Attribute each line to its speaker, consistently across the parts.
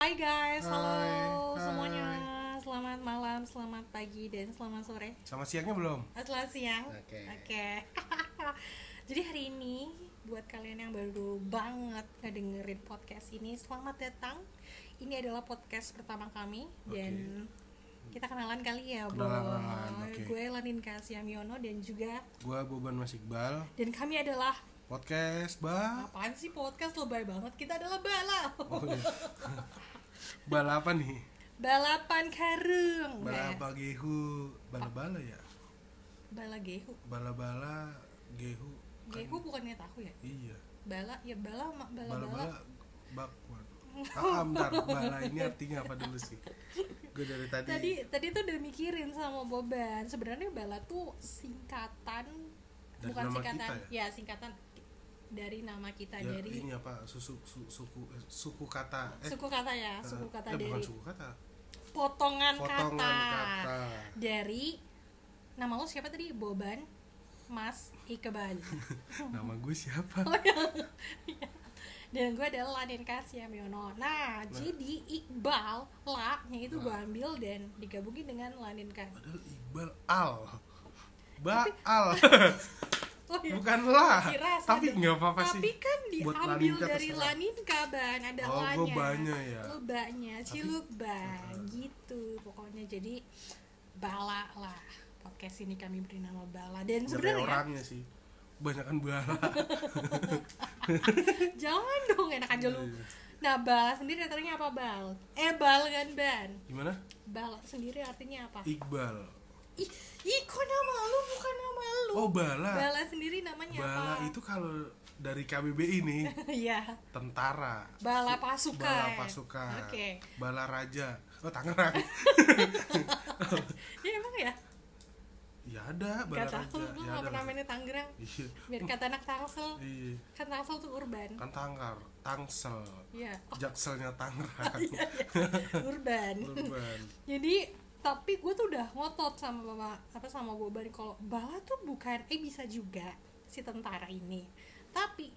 Speaker 1: guys, halo
Speaker 2: Hai,
Speaker 1: semuanya.
Speaker 2: hai.
Speaker 1: Selamat malam, selamat pagi, dan selamat sore.
Speaker 2: Sama siangnya belum?
Speaker 1: Eh, Selamat siang.
Speaker 2: Oke.
Speaker 1: Jadi hari ini buat kalian yang baru banget ngedengerin podcast ini, selamat datang. Ini adalah podcast pertama kami dan kita kenalan kali ya, Bo.
Speaker 2: Kenalan-kenalan, oke.
Speaker 1: Gue Laninka Siamiono dan juga
Speaker 2: Gua Boban Mas Iqbal,
Speaker 1: dan kami adalah
Speaker 2: podcast ba.
Speaker 1: apaan sih podcast lebay banget? Kita adalah bala.
Speaker 2: Oh, iya. Balapan nih.
Speaker 1: Balapan karung.
Speaker 2: Balapa gehu, bala-bala ya.
Speaker 1: Bala gehu.
Speaker 2: Bala-bala gehu. kan-
Speaker 1: Gehu bukannya tahu ya?
Speaker 2: Iya.
Speaker 1: Bala ya bala ma- bala bala.
Speaker 2: Bala-bala bakwan. Ah, bentar. Bala ini artinya apa dulu sih? Gue dari tadi.
Speaker 1: Tadi tadi tuh udah mikirin sama Boban. Sebenarnya bala tuh singkatan
Speaker 2: Dari
Speaker 1: bukan
Speaker 2: nama
Speaker 1: singkatan.
Speaker 2: kita
Speaker 1: ya? singkatan dari nama kita.
Speaker 2: ya,
Speaker 1: dari
Speaker 2: ini apa? Susu, su- suku eh, suku kata. Eh,
Speaker 1: suku kata ya,
Speaker 2: eh,
Speaker 1: suku kata
Speaker 2: eh,
Speaker 1: dari
Speaker 2: bukan suku kata.
Speaker 1: potongan, kata.
Speaker 2: Potongan kata.
Speaker 1: Dari nama lo siapa tadi? Boban Mas Iqbal.
Speaker 2: Nama gue siapa?
Speaker 1: Oh, ya. Iya. Dan gue adalah Laninka Siamiono Nah, jadi Iqbal La-nya itu gue
Speaker 2: Nah.
Speaker 1: ambil dan digabungin dengan Laninka
Speaker 2: Padahal Iqbal Al. Baal.
Speaker 1: Oh iya.
Speaker 2: Bukan lah.
Speaker 1: Kira sadar.
Speaker 2: Tapi nggak apa-apa sih.
Speaker 1: Tapi kan
Speaker 2: Buat
Speaker 1: diambil
Speaker 2: Laninka
Speaker 1: dari
Speaker 2: terserah.
Speaker 1: Laninka ban ada
Speaker 2: Oh,
Speaker 1: lanya.
Speaker 2: gua banya ya.
Speaker 1: Lu banya, ciluk ban gitu. Pokoknya jadi bala lah. Podcast ini kami beri nama Bala dan
Speaker 2: Dari
Speaker 1: sebenarnya
Speaker 2: orangnya sih. Banyakan bala.
Speaker 1: jangan dong enak aja lu.
Speaker 2: Iya.
Speaker 1: Nah, bala sendiri artinya apa, Bal? Eh, bal kan ban.
Speaker 2: Gimana?
Speaker 1: Bala sendiri artinya apa?
Speaker 2: Iqbal.
Speaker 1: Ih, ih kok nama lu bukan nama lu?
Speaker 2: Oh, bala.
Speaker 1: Bala sendiri namanya
Speaker 2: Bala
Speaker 1: apa?
Speaker 2: itu kalau dari KBBI nih
Speaker 1: Iya.
Speaker 2: tentara.
Speaker 1: Bala pasukan.
Speaker 2: Bala pasukan.
Speaker 1: Oke.
Speaker 2: Bala raja. Oh, Tangerang.
Speaker 1: Ya emang ya?
Speaker 2: ya ada bala
Speaker 1: Gak
Speaker 2: raja.
Speaker 1: tahu, gue
Speaker 2: Ya
Speaker 1: gak
Speaker 2: ada.
Speaker 1: pernah mainnya Tangerang
Speaker 2: Iya.
Speaker 1: Biar kata anak Tangsel
Speaker 2: Iya.
Speaker 1: Kan Tangsel tuh urban
Speaker 2: Kan Tangkar, Tangsel.
Speaker 1: Iya,
Speaker 2: Jakselnya Tangerang.
Speaker 1: urban
Speaker 2: Urban.
Speaker 1: Jadi, tapi gue tuh udah ngotot sama mama Apa sama Boban kalau Bala tuh bukan, eh bisa juga si tentara ini Tapi,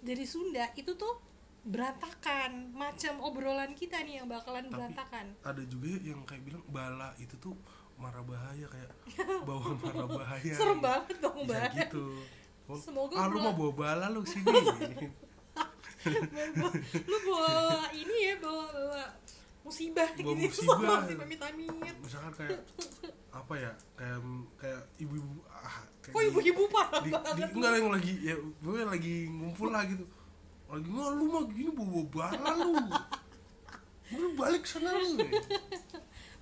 Speaker 1: dari Sunda itu tuh berantakan Macam obrolan kita nih yang bakalan berantakan
Speaker 2: ada juga yang kayak bilang bala itu tuh marah bahaya kayak bawa marah bahaya
Speaker 1: Serem banget dong,
Speaker 2: Iya,
Speaker 1: Bal
Speaker 2: gitu Oh,
Speaker 1: Semoga
Speaker 2: ah, lu
Speaker 1: gua-
Speaker 2: mau bawa bala lu sini
Speaker 1: lu bawa ini ya bawa, bawa musibah
Speaker 2: Bawa
Speaker 1: gini
Speaker 2: musibah.
Speaker 1: sama si pamit-pamit
Speaker 2: misalkan kayak apa ya kayak kayak ibu-ibu ah, kayak
Speaker 1: kok ibu-ibu parah
Speaker 2: di, di,
Speaker 1: banget
Speaker 2: enggak yang lagi ya gue lagi ngumpul lah gitu lagi nggak lu mah gini bawa, bawa bala lu lu balik sana lu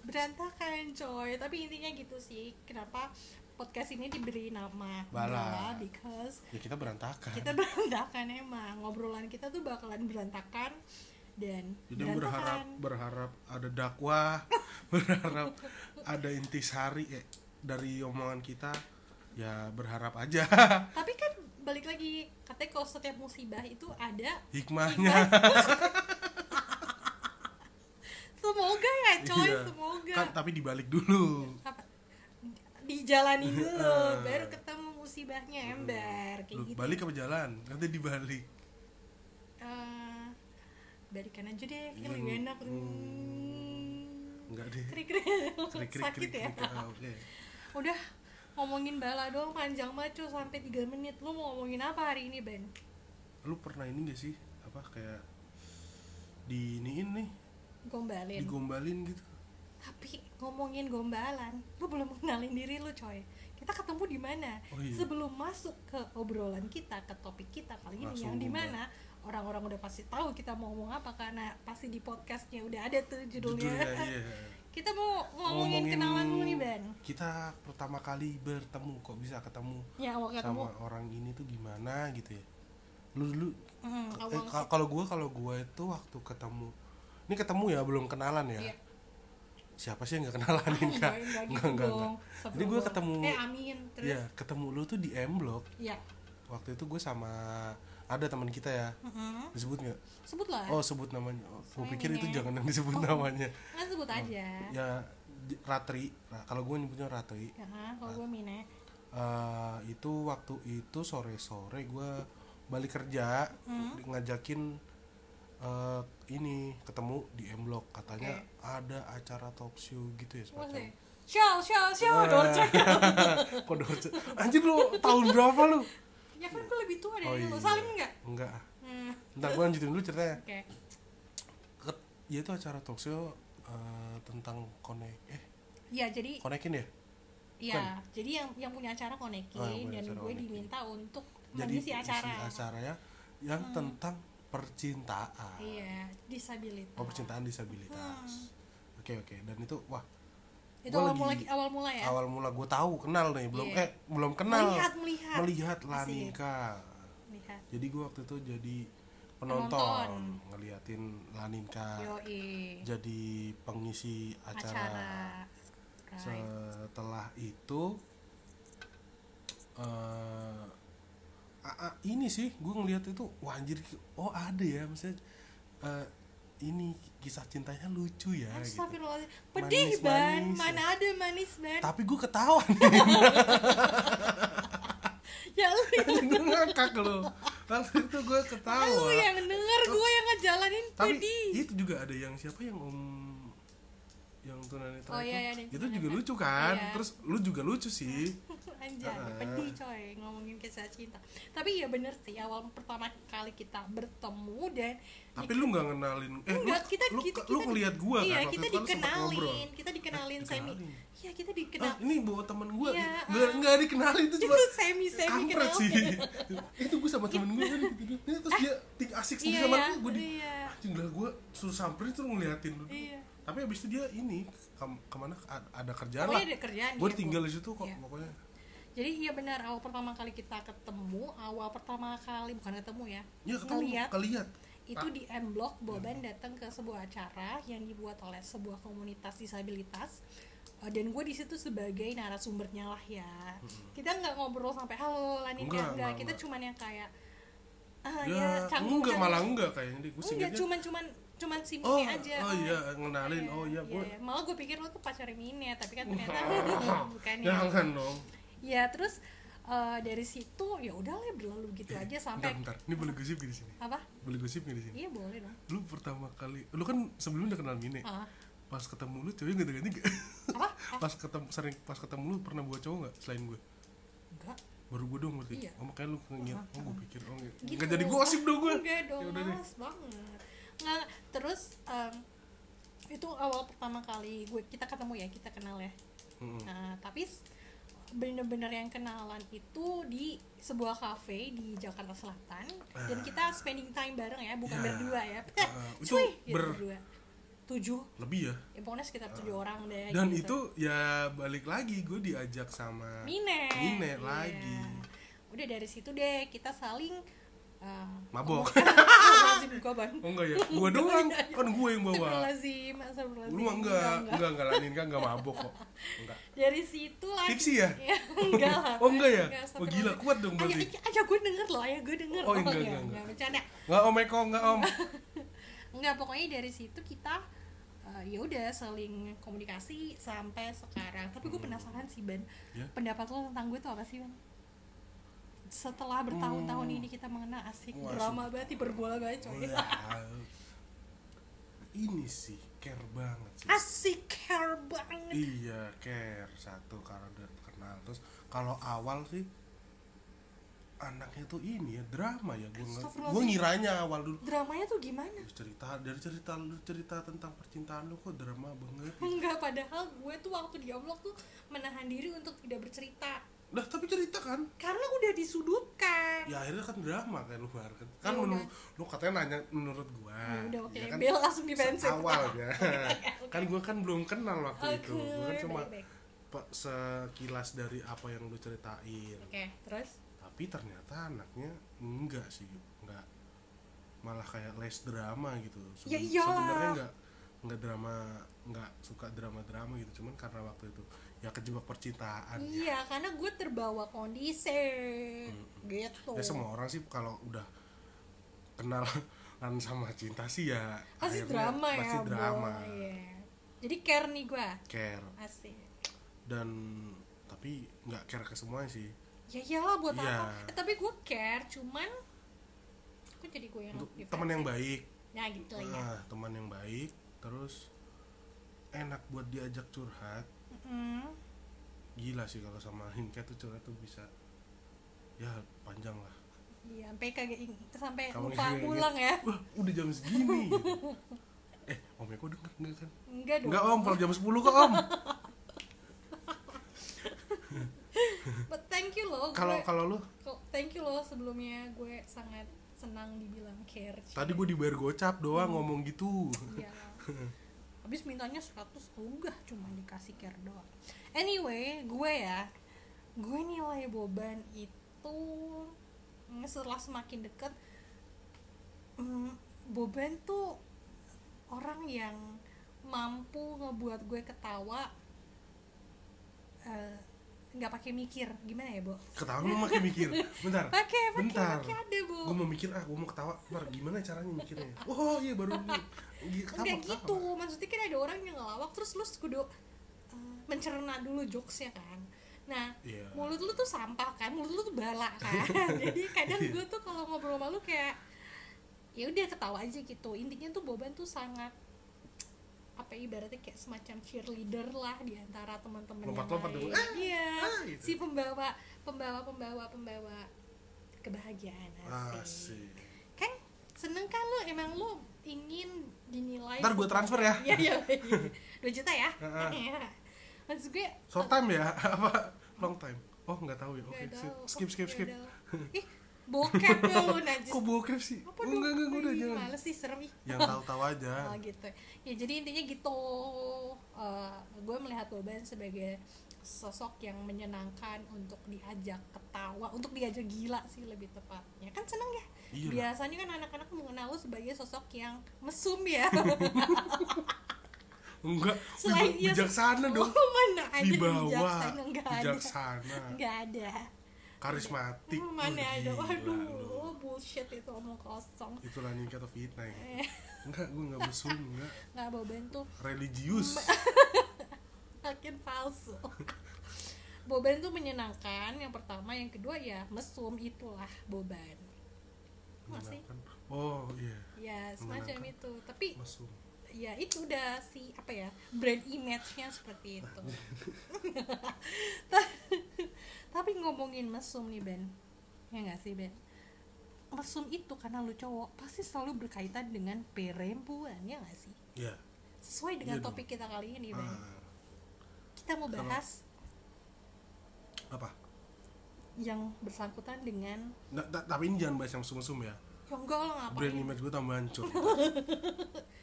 Speaker 1: berantakan coy tapi intinya gitu sih kenapa podcast ini diberi nama
Speaker 2: Bala.
Speaker 1: because
Speaker 2: ya kita berantakan
Speaker 1: kita berantakan emang ngobrolan kita tuh bakalan berantakan dan
Speaker 2: Jadi berharap berharap ada dakwah, berharap ada intisari ya, dari omongan kita ya berharap aja
Speaker 1: tapi kan balik lagi katanya kalau setiap musibah itu ada
Speaker 2: hikmahnya.
Speaker 1: semoga ya coy
Speaker 2: Iya.
Speaker 1: semoga
Speaker 2: Kan, tapi dibalik dulu.
Speaker 1: apa dijalani dulu
Speaker 2: Heeh.
Speaker 1: baru ketemu musibahnya ember kayak
Speaker 2: Lu
Speaker 1: gitu
Speaker 2: balik apa jalan? Nanti dibalik.
Speaker 1: Eh, balikan aja deh kan
Speaker 2: Hmm.
Speaker 1: lebih enak
Speaker 2: Hmm. Enggak deh.
Speaker 1: krik krik
Speaker 2: Krik-krik,
Speaker 1: sakit ya
Speaker 2: krik-krik. Ah, Oke.
Speaker 1: udah ngomongin bala doang panjang banget cuy sampai 3 menit lu mau ngomongin apa hari ini Ben
Speaker 2: Lu pernah ini gak sih apa kayak diiniin nih,
Speaker 1: gombalin
Speaker 2: digombalin gitu?
Speaker 1: tapi ngomongin gombalan lu belum kenalin diri lu coy kita ketemu di mana
Speaker 2: Oh iya.
Speaker 1: sebelum masuk ke obrolan kita ke topik kita kali ini
Speaker 2: Langsung
Speaker 1: yang di
Speaker 2: gombal.
Speaker 1: mana orang-orang udah pasti tahu kita mau ngomong apa karena pasti di podcastnya udah ada tuh judulnya,
Speaker 2: iya.
Speaker 1: kita mau ngomongin, kenalan lu nih Ben
Speaker 2: Kita pertama kali bertemu kok bisa ketemu
Speaker 1: ya mau ketemu
Speaker 2: sama orang ini tuh gimana gitu ya lu dulu
Speaker 1: Hmm,
Speaker 2: eh,
Speaker 1: awal
Speaker 2: ka- kalau gue kalau gue itu waktu ketemu ini ketemu ya belum kenalan ya
Speaker 1: Iya.
Speaker 2: siapa sih yang nggak kenalan enggak
Speaker 1: enggak gitu
Speaker 2: enggak enggak,
Speaker 1: dong.
Speaker 2: enggak. jadi gue
Speaker 1: Sebelum-
Speaker 2: ketemu
Speaker 1: eh amin terus
Speaker 2: ya ketemu lu tuh di M Block
Speaker 1: ya,
Speaker 2: waktu itu gue sama ada teman kita ya
Speaker 1: Mm-mm.
Speaker 2: disebut nggak
Speaker 1: sebutlah
Speaker 2: oh sebut namanya oh, gue
Speaker 1: Sayang
Speaker 2: pikir itu
Speaker 1: ya.
Speaker 2: jangan yang disebut
Speaker 1: Oh.
Speaker 2: namanya
Speaker 1: Kan sebut aja
Speaker 2: ya di- Ratri Nah, kalau gue nyebutnya Ratri
Speaker 1: ya kalau
Speaker 2: Ah.
Speaker 1: gue mine
Speaker 2: Eh, itu waktu itu
Speaker 1: Hmm.
Speaker 2: sore-sore gue balik kerja di- ngajakin eh, ini ketemu di M Block katanya ada acara talk show gitu ya semacam.
Speaker 1: Masih. Shell, shell, shell,
Speaker 2: Eh.
Speaker 1: dorce.
Speaker 2: Kok dorce? Anjir lu tahun berapa lu?
Speaker 1: Ya kan gue lebih tua dari
Speaker 2: Oh,
Speaker 1: lu.
Speaker 2: iya.
Speaker 1: Saling nggak?
Speaker 2: Enggak. ah.
Speaker 1: Hmm.
Speaker 2: Ntar gue lanjutin dulu ceritanya.
Speaker 1: Oke.
Speaker 2: Ket- Ya itu acara talk show eh, tentang konek eh
Speaker 1: Ya jadi
Speaker 2: konekin ya?
Speaker 1: ya, jadi yang yang punya acara Koneki
Speaker 2: Oh, yang punya
Speaker 1: dan
Speaker 2: acara
Speaker 1: gue
Speaker 2: Koneki.
Speaker 1: diminta untuk
Speaker 2: Jadi
Speaker 1: mengisi acaranya
Speaker 2: acaranya yang tentang percintaan.
Speaker 1: Hmm. Iya, disabilitas.
Speaker 2: Oh, percintaan disabilitas.
Speaker 1: Hmm.
Speaker 2: Oke oke dan itu wah
Speaker 1: Itu
Speaker 2: Gua
Speaker 1: awal
Speaker 2: lagi-
Speaker 1: mula awal mula ya.
Speaker 2: awal mula gue tahu kenal nih belum
Speaker 1: Iya.
Speaker 2: eh belum kenal
Speaker 1: Melihat, melihat.
Speaker 2: melihat
Speaker 1: Asik.
Speaker 2: Laninka.
Speaker 1: Lihat.
Speaker 2: Jadi gue waktu itu jadi penonton,
Speaker 1: Penonton.
Speaker 2: ngeliatin Laninka
Speaker 1: Yoi.
Speaker 2: jadi pengisi Nah, acara.
Speaker 1: Acara. Nah, Right.
Speaker 2: Setelah itu eh a- a- ini sih gue ngeliat itu wah anjir oh ada ya maksudnya eh, ini kisah cintanya lucu ya gitu.
Speaker 1: Astagfirullahaladzim. Pedih
Speaker 2: Manis-manis
Speaker 1: ban,
Speaker 2: ya.
Speaker 1: mana ada manis ban.
Speaker 2: Tapi gue ketawa
Speaker 1: Ya lu
Speaker 2: gue ngakak loh. Lalu itu gue ketawa.
Speaker 1: lu yang denger gue yang ngejalanin
Speaker 2: tapi iya.
Speaker 1: pedih.
Speaker 2: itu juga ada yang siapa yang om yang tunanetra
Speaker 1: Oh,
Speaker 2: itu
Speaker 1: iya, iya, ada yang
Speaker 2: itu juga
Speaker 1: tunanetra.
Speaker 2: lucu kan
Speaker 1: Iya.
Speaker 2: terus lu juga lucu sih
Speaker 1: Anjay,
Speaker 2: Heeh.
Speaker 1: pedih coy ngomongin kisah cinta. Tapi iya bener sih awal pertama kali kita bertemu dan
Speaker 2: tapi lu nggak ngenalin eh
Speaker 1: Enggak,
Speaker 2: lu
Speaker 1: kita,
Speaker 2: lu,
Speaker 1: kita,
Speaker 2: lu
Speaker 1: kita-
Speaker 2: ngeliat gua
Speaker 1: iya,
Speaker 2: kan waktu
Speaker 1: kita
Speaker 2: itu kan lu sempet ngobrol.
Speaker 1: dikenalin, kita dikenalin
Speaker 2: Eh,
Speaker 1: semi.
Speaker 2: dikenalin.
Speaker 1: Iya, kita
Speaker 2: Ah,
Speaker 1: dikenal.
Speaker 2: ini bawa temen gua
Speaker 1: Iya,
Speaker 2: nggak
Speaker 1: ah.
Speaker 2: nggak dikenalin itu cuma
Speaker 1: itu semi semi
Speaker 2: kampret
Speaker 1: kenal.
Speaker 2: sih itu gua sama temen gua kan gitu doang. Ini terus dia ting asik sendiri
Speaker 1: Eh, Iya,
Speaker 2: sama
Speaker 1: iya,
Speaker 2: gua gua di
Speaker 1: iya.
Speaker 2: anjing lah gua suruh samperin terus ngeliatin lu
Speaker 1: Iya.
Speaker 2: tapi abis itu dia ini ke- kemana A- ada kerjaan
Speaker 1: Pokoknya
Speaker 2: lah
Speaker 1: ada kerjaan
Speaker 2: gua
Speaker 1: dia,
Speaker 2: tinggal
Speaker 1: Bu.
Speaker 2: di situ kok
Speaker 1: Iya.
Speaker 2: pokoknya
Speaker 1: Jadi iya benar awal pertama kali kita ketemu, awal pertama kali bukan ketemu ya.
Speaker 2: Ya ketemu Iya,
Speaker 1: ngeliat,
Speaker 2: keliat.
Speaker 1: itu di M Block Boban datang ke sebuah acara yang dibuat oleh sebuah komunitas disabilitas Eh, dan gue di situ sebagai narasumbernya lah ya kita nggak ngobrol sampai halo Laninka
Speaker 2: Hmm. Enggak,
Speaker 1: enggak,
Speaker 2: enggak,
Speaker 1: kita
Speaker 2: enggak.
Speaker 1: cuman yang kayak ah
Speaker 2: Ya,
Speaker 1: ya, canggung
Speaker 2: enggak
Speaker 1: canggung.
Speaker 2: malah enggak kayaknya di gue
Speaker 1: enggak
Speaker 2: singkatnya.
Speaker 1: cuman cuman cuman
Speaker 2: oh,
Speaker 1: simple aja
Speaker 2: oh iya ngenalin.
Speaker 1: Iya,
Speaker 2: Oh iya gue.
Speaker 1: iya. malah gue pikir lo tuh pacar Minet tapi kan ternyata bukan ya
Speaker 2: Jangan dong.
Speaker 1: ya terus eh, dari situ ya udah lah berlalu gitu aja sampai
Speaker 2: Iya, Bentar, bentar. Ini boleh gosip gak di sini?
Speaker 1: apa
Speaker 2: Boleh gosip gak di sini?
Speaker 1: iya boleh dong
Speaker 2: Lu pertama kali, lu kan sebelumnya udah kenal Mine.
Speaker 1: Ah.
Speaker 2: Pas ketemu lu cewek ganti ganti gak?
Speaker 1: apa Ah,
Speaker 2: pas ketemu sering pas ketemu lu pernah buat cowok gak selain gue?
Speaker 1: enggak
Speaker 2: Baru gue dong berarti.
Speaker 1: Iya.
Speaker 2: Oh makanya lu ngeliat. Oh gue pikir oh enggak.
Speaker 1: gitu.
Speaker 2: Enggak jadi gosip dong gue.
Speaker 1: enggak dong
Speaker 2: Ya udah deh.
Speaker 1: males banget nggak terus em, itu awal pertama kali gue kita ketemu ya kita kenal ya
Speaker 2: Mm-mm.
Speaker 1: nah tapi s- bener-bener yang kenalan itu di sebuah cafe di Jakarta Selatan dan kita spending time bareng ya bukan
Speaker 2: Ya.
Speaker 1: berdua ya
Speaker 2: Ah, itu
Speaker 1: cuy gitu,
Speaker 2: ber-
Speaker 1: berdua tujuh
Speaker 2: Lebih ya.
Speaker 1: ya pokoknya sekitar tujuh orang deh
Speaker 2: Dan
Speaker 1: gitu.
Speaker 2: itu ya balik lagi gue diajak sama
Speaker 1: Mine. Iya.
Speaker 2: Mine lagi.
Speaker 1: Udah dari situ deh kita saling uh,
Speaker 2: Mabok.
Speaker 1: Astagfirullahaladzim, gua ban.
Speaker 2: Oh enggak ya, gua doang
Speaker 1: Iya,
Speaker 2: kan gua yang bawa.
Speaker 1: Astagfirullahaladzim, astagfirullahaladzim.
Speaker 2: Lu mah enggak, enggak enggak lanin kan enggak mabok kok. Enggak.
Speaker 1: Dari situ lagi.
Speaker 2: Tipsi ya?
Speaker 1: enggak lah.
Speaker 2: Oh enggak ya? Wah
Speaker 1: astagfirullahaladzim.
Speaker 2: gila kuat dong
Speaker 1: Ayah,
Speaker 2: berarti.
Speaker 1: ayah, ayah gue denger loh, ayah gue denger.
Speaker 2: Oh, enggak, enggak, enggak.
Speaker 1: bercanda.
Speaker 2: Enggak Om Eko, enggak Om.
Speaker 1: Enggak, pokoknya dari situ kita eh, ya udah saling komunikasi sampai sekarang. Tapi gue penasaran sih Ben,
Speaker 2: Hmm. Ya.
Speaker 1: pendapat lo tentang gue tuh apa sih Ben? Setelah bertahun-tahun ini kita mengenal asik
Speaker 2: Hmm. Wah,
Speaker 1: drama banget, hiperbola banget coy.
Speaker 2: Wah. Ini sih care banget
Speaker 1: Ah,
Speaker 2: sih.
Speaker 1: Asik care banget.
Speaker 2: Iya, care satu karena udah kenal. Terus kalau awal sih anaknya tuh ini ya drama ya gua nge-
Speaker 1: Astagfirullahaladzim.
Speaker 2: gua ngiranya awal dulu
Speaker 1: Dramanya tuh gimana?
Speaker 2: Ih, cerita dari cerita lu cerita tentang percintaan lu kok drama banget ya?
Speaker 1: Enggak, padahal gue tuh waktu di Omlok tuh menahan diri untuk tidak bercerita
Speaker 2: Lah tapi cerita kan
Speaker 1: karena udah disudutkan.
Speaker 2: ya akhirnya kan drama kan lu bar kan kan
Speaker 1: Ya
Speaker 2: menurut lu katanya nanya menurut gua
Speaker 1: Ya udah oke,
Speaker 2: Ya
Speaker 1: Bel
Speaker 2: kan
Speaker 1: langsung defensif.
Speaker 2: awalnya kan gua kan belum kenal waktu
Speaker 1: Oke,
Speaker 2: itu gua kan cuma
Speaker 1: baik-baik.
Speaker 2: pe- sekilas dari apa yang lu ceritain
Speaker 1: Oke, terus
Speaker 2: tapi ternyata anaknya enggak sih enggak malah kayak les drama gitu
Speaker 1: Ya
Speaker 2: Seben-
Speaker 1: iyalah.
Speaker 2: sebenarnya enggak enggak drama enggak suka drama-drama gitu cuman karena waktu itu ya kejebak percintaan ya.
Speaker 1: Iya, karena gue terbawa kondisi gitu.
Speaker 2: ya semua orang sih kalau udah kenalan sama cinta sih ya
Speaker 1: Pasti
Speaker 2: akhirnya
Speaker 1: drama ya,
Speaker 2: pasti
Speaker 1: Boy.
Speaker 2: drama
Speaker 1: Iya. Jadi care nih gue,
Speaker 2: care
Speaker 1: asik.
Speaker 2: dan tapi nggak care ke semua sih
Speaker 1: Ya iyalah buat
Speaker 2: Iya.
Speaker 1: apa? Eh, tapi gue care, cuman kok jadi gue yang
Speaker 2: untuk
Speaker 1: defensif?
Speaker 2: teman yang baik
Speaker 1: nah gitu ya
Speaker 2: Nah, teman yang baik terus enak buat diajak curhat
Speaker 1: Mm.
Speaker 2: gila sih kalau sama Hinka tuh curhat tuh bisa ya panjang lah
Speaker 1: iya sampai kagak ing- sampai
Speaker 2: Kamu
Speaker 1: Eh, lupa
Speaker 2: ingat-
Speaker 1: ngulang ya
Speaker 2: wah udah jam segini gitu. eh om Eko denger nggak kan
Speaker 1: enggak dong
Speaker 2: Enggak om, kalau jam 10 kok om
Speaker 1: But thank you loh
Speaker 2: Kalau
Speaker 1: gue-
Speaker 2: kalau lu,
Speaker 1: kok- thank you loh sebelumnya gue sangat senang dibilang care
Speaker 2: tadi gue dibayar gocap doang ngomong gitu
Speaker 1: Iya. Habis mintanya 100 unggah cuma dikasih care doang. Anyway, gue ya. Gue nilai boban itu mm, setelah semakin deket mm, boban tuh orang yang mampu ngebuat gue ketawa eh, nggak pakai mikir gimana ya bo
Speaker 2: Ketawa lu makin mikir, bentar
Speaker 1: pakai pakai
Speaker 2: Bentar.
Speaker 1: pakai ada bo
Speaker 2: Gue mau mikir, ah gue mau ketawa Bentar, gimana caranya mikirnya Oh iya baru ini Ketawa,
Speaker 1: Enggak
Speaker 2: ketawa.
Speaker 1: gitu, maksudnya kan ada orang yang ngelawak terus lu kudu uh, mencerna dulu jokesnya kan. Nah,
Speaker 2: Iya.
Speaker 1: mulut lu tuh sampah kan, mulut lu tuh bala kan. Jadi kadang
Speaker 2: Iya.
Speaker 1: gue tuh kalau ngobrol sama lu kayak ya udah ketawa aja gitu. Intinya tuh Boban tuh sangat apa ya, ibaratnya kayak semacam cheerleader lah di antara teman-teman yang
Speaker 2: Lompat-lompat
Speaker 1: lain.
Speaker 2: dulu, "Ah,
Speaker 1: Iya,
Speaker 2: ah," gitu.
Speaker 1: si pembawa pembawa pembawa pembawa kebahagiaan asik.
Speaker 2: Asik
Speaker 1: Kan seneng kan lu emang lu ingin dinilai
Speaker 2: Ntar gue transfer ya
Speaker 1: Iya iya. 2 juta ya.
Speaker 2: Heeh.
Speaker 1: Iya. Maksud gue
Speaker 2: Short time ya? Apa? Long time? Oh nggak tahu ya, oke
Speaker 1: Nggak
Speaker 2: sip.
Speaker 1: tahu.
Speaker 2: Skip skip
Speaker 1: Nggak
Speaker 2: skip
Speaker 1: tahu. Ih, bokep deh lu najis.
Speaker 2: Kok bokep sih?
Speaker 1: Apa
Speaker 2: Oh,
Speaker 1: dong?
Speaker 2: enggak enggak gue udah
Speaker 1: Ih,
Speaker 2: jangan Ah.
Speaker 1: Males sih serem ih.
Speaker 2: Yang Ya, tahu-tahu aja
Speaker 1: Oh gitu. Ya jadi intinya gitu. Eh, gue melihat Boban sebagai sosok yang menyenangkan untuk diajak ketawa, untuk diajak gila sih lebih tepatnya. Kan seneng ya.
Speaker 2: Iya lah.
Speaker 1: Biasanya kan anak-anak mengenal lu sebagai sosok yang mesum ya.
Speaker 2: Enggak,
Speaker 1: Selain
Speaker 2: bijak- bijaksana dong
Speaker 1: Lu Oh, mana ada
Speaker 2: Dibawa,
Speaker 1: bijaksana? Nggak ada.
Speaker 2: bijaksana,
Speaker 1: Nggak ada.
Speaker 2: karismatik
Speaker 1: Hmm, Mana
Speaker 2: Wah,
Speaker 1: ada,
Speaker 2: Oh, gila
Speaker 1: waduh,
Speaker 2: lu.
Speaker 1: bullshit itu omong kosong
Speaker 2: itulah nikah atau fitnah ya
Speaker 1: Eh.
Speaker 2: enggak gue nggak mesum enggak
Speaker 1: Nggak Boban tuh
Speaker 2: religius
Speaker 1: makin palsu Boban tuh menyenangkan, yang pertama, yang kedua ya mesum itulah Boban Masih,
Speaker 2: Menyenangkan. oh iya
Speaker 1: ya semacam
Speaker 2: Menyenangkan.
Speaker 1: itu Tapi
Speaker 2: mesum
Speaker 1: ya itu udah si apa ya brand image-nya seperti itu Ta- tapi ngomongin mesum nih Ben ya nggak sih Ben mesum itu karena lu cowok pasti selalu berkaitan dengan perempuan ya nggak sih
Speaker 2: ya
Speaker 1: sesuai dengan
Speaker 2: Iya dong.
Speaker 1: topik kita kali ini Ben
Speaker 2: Ah,
Speaker 1: kita mau
Speaker 2: Sama.
Speaker 1: bahas
Speaker 2: apa
Speaker 1: yang bersangkutan dengan
Speaker 2: Nggak, ta- tapi ini jangan bahas yang mesum-mesum ya
Speaker 1: ya enggak lah
Speaker 2: brand
Speaker 1: ngapain
Speaker 2: image gue tambah hancur
Speaker 1: Oh,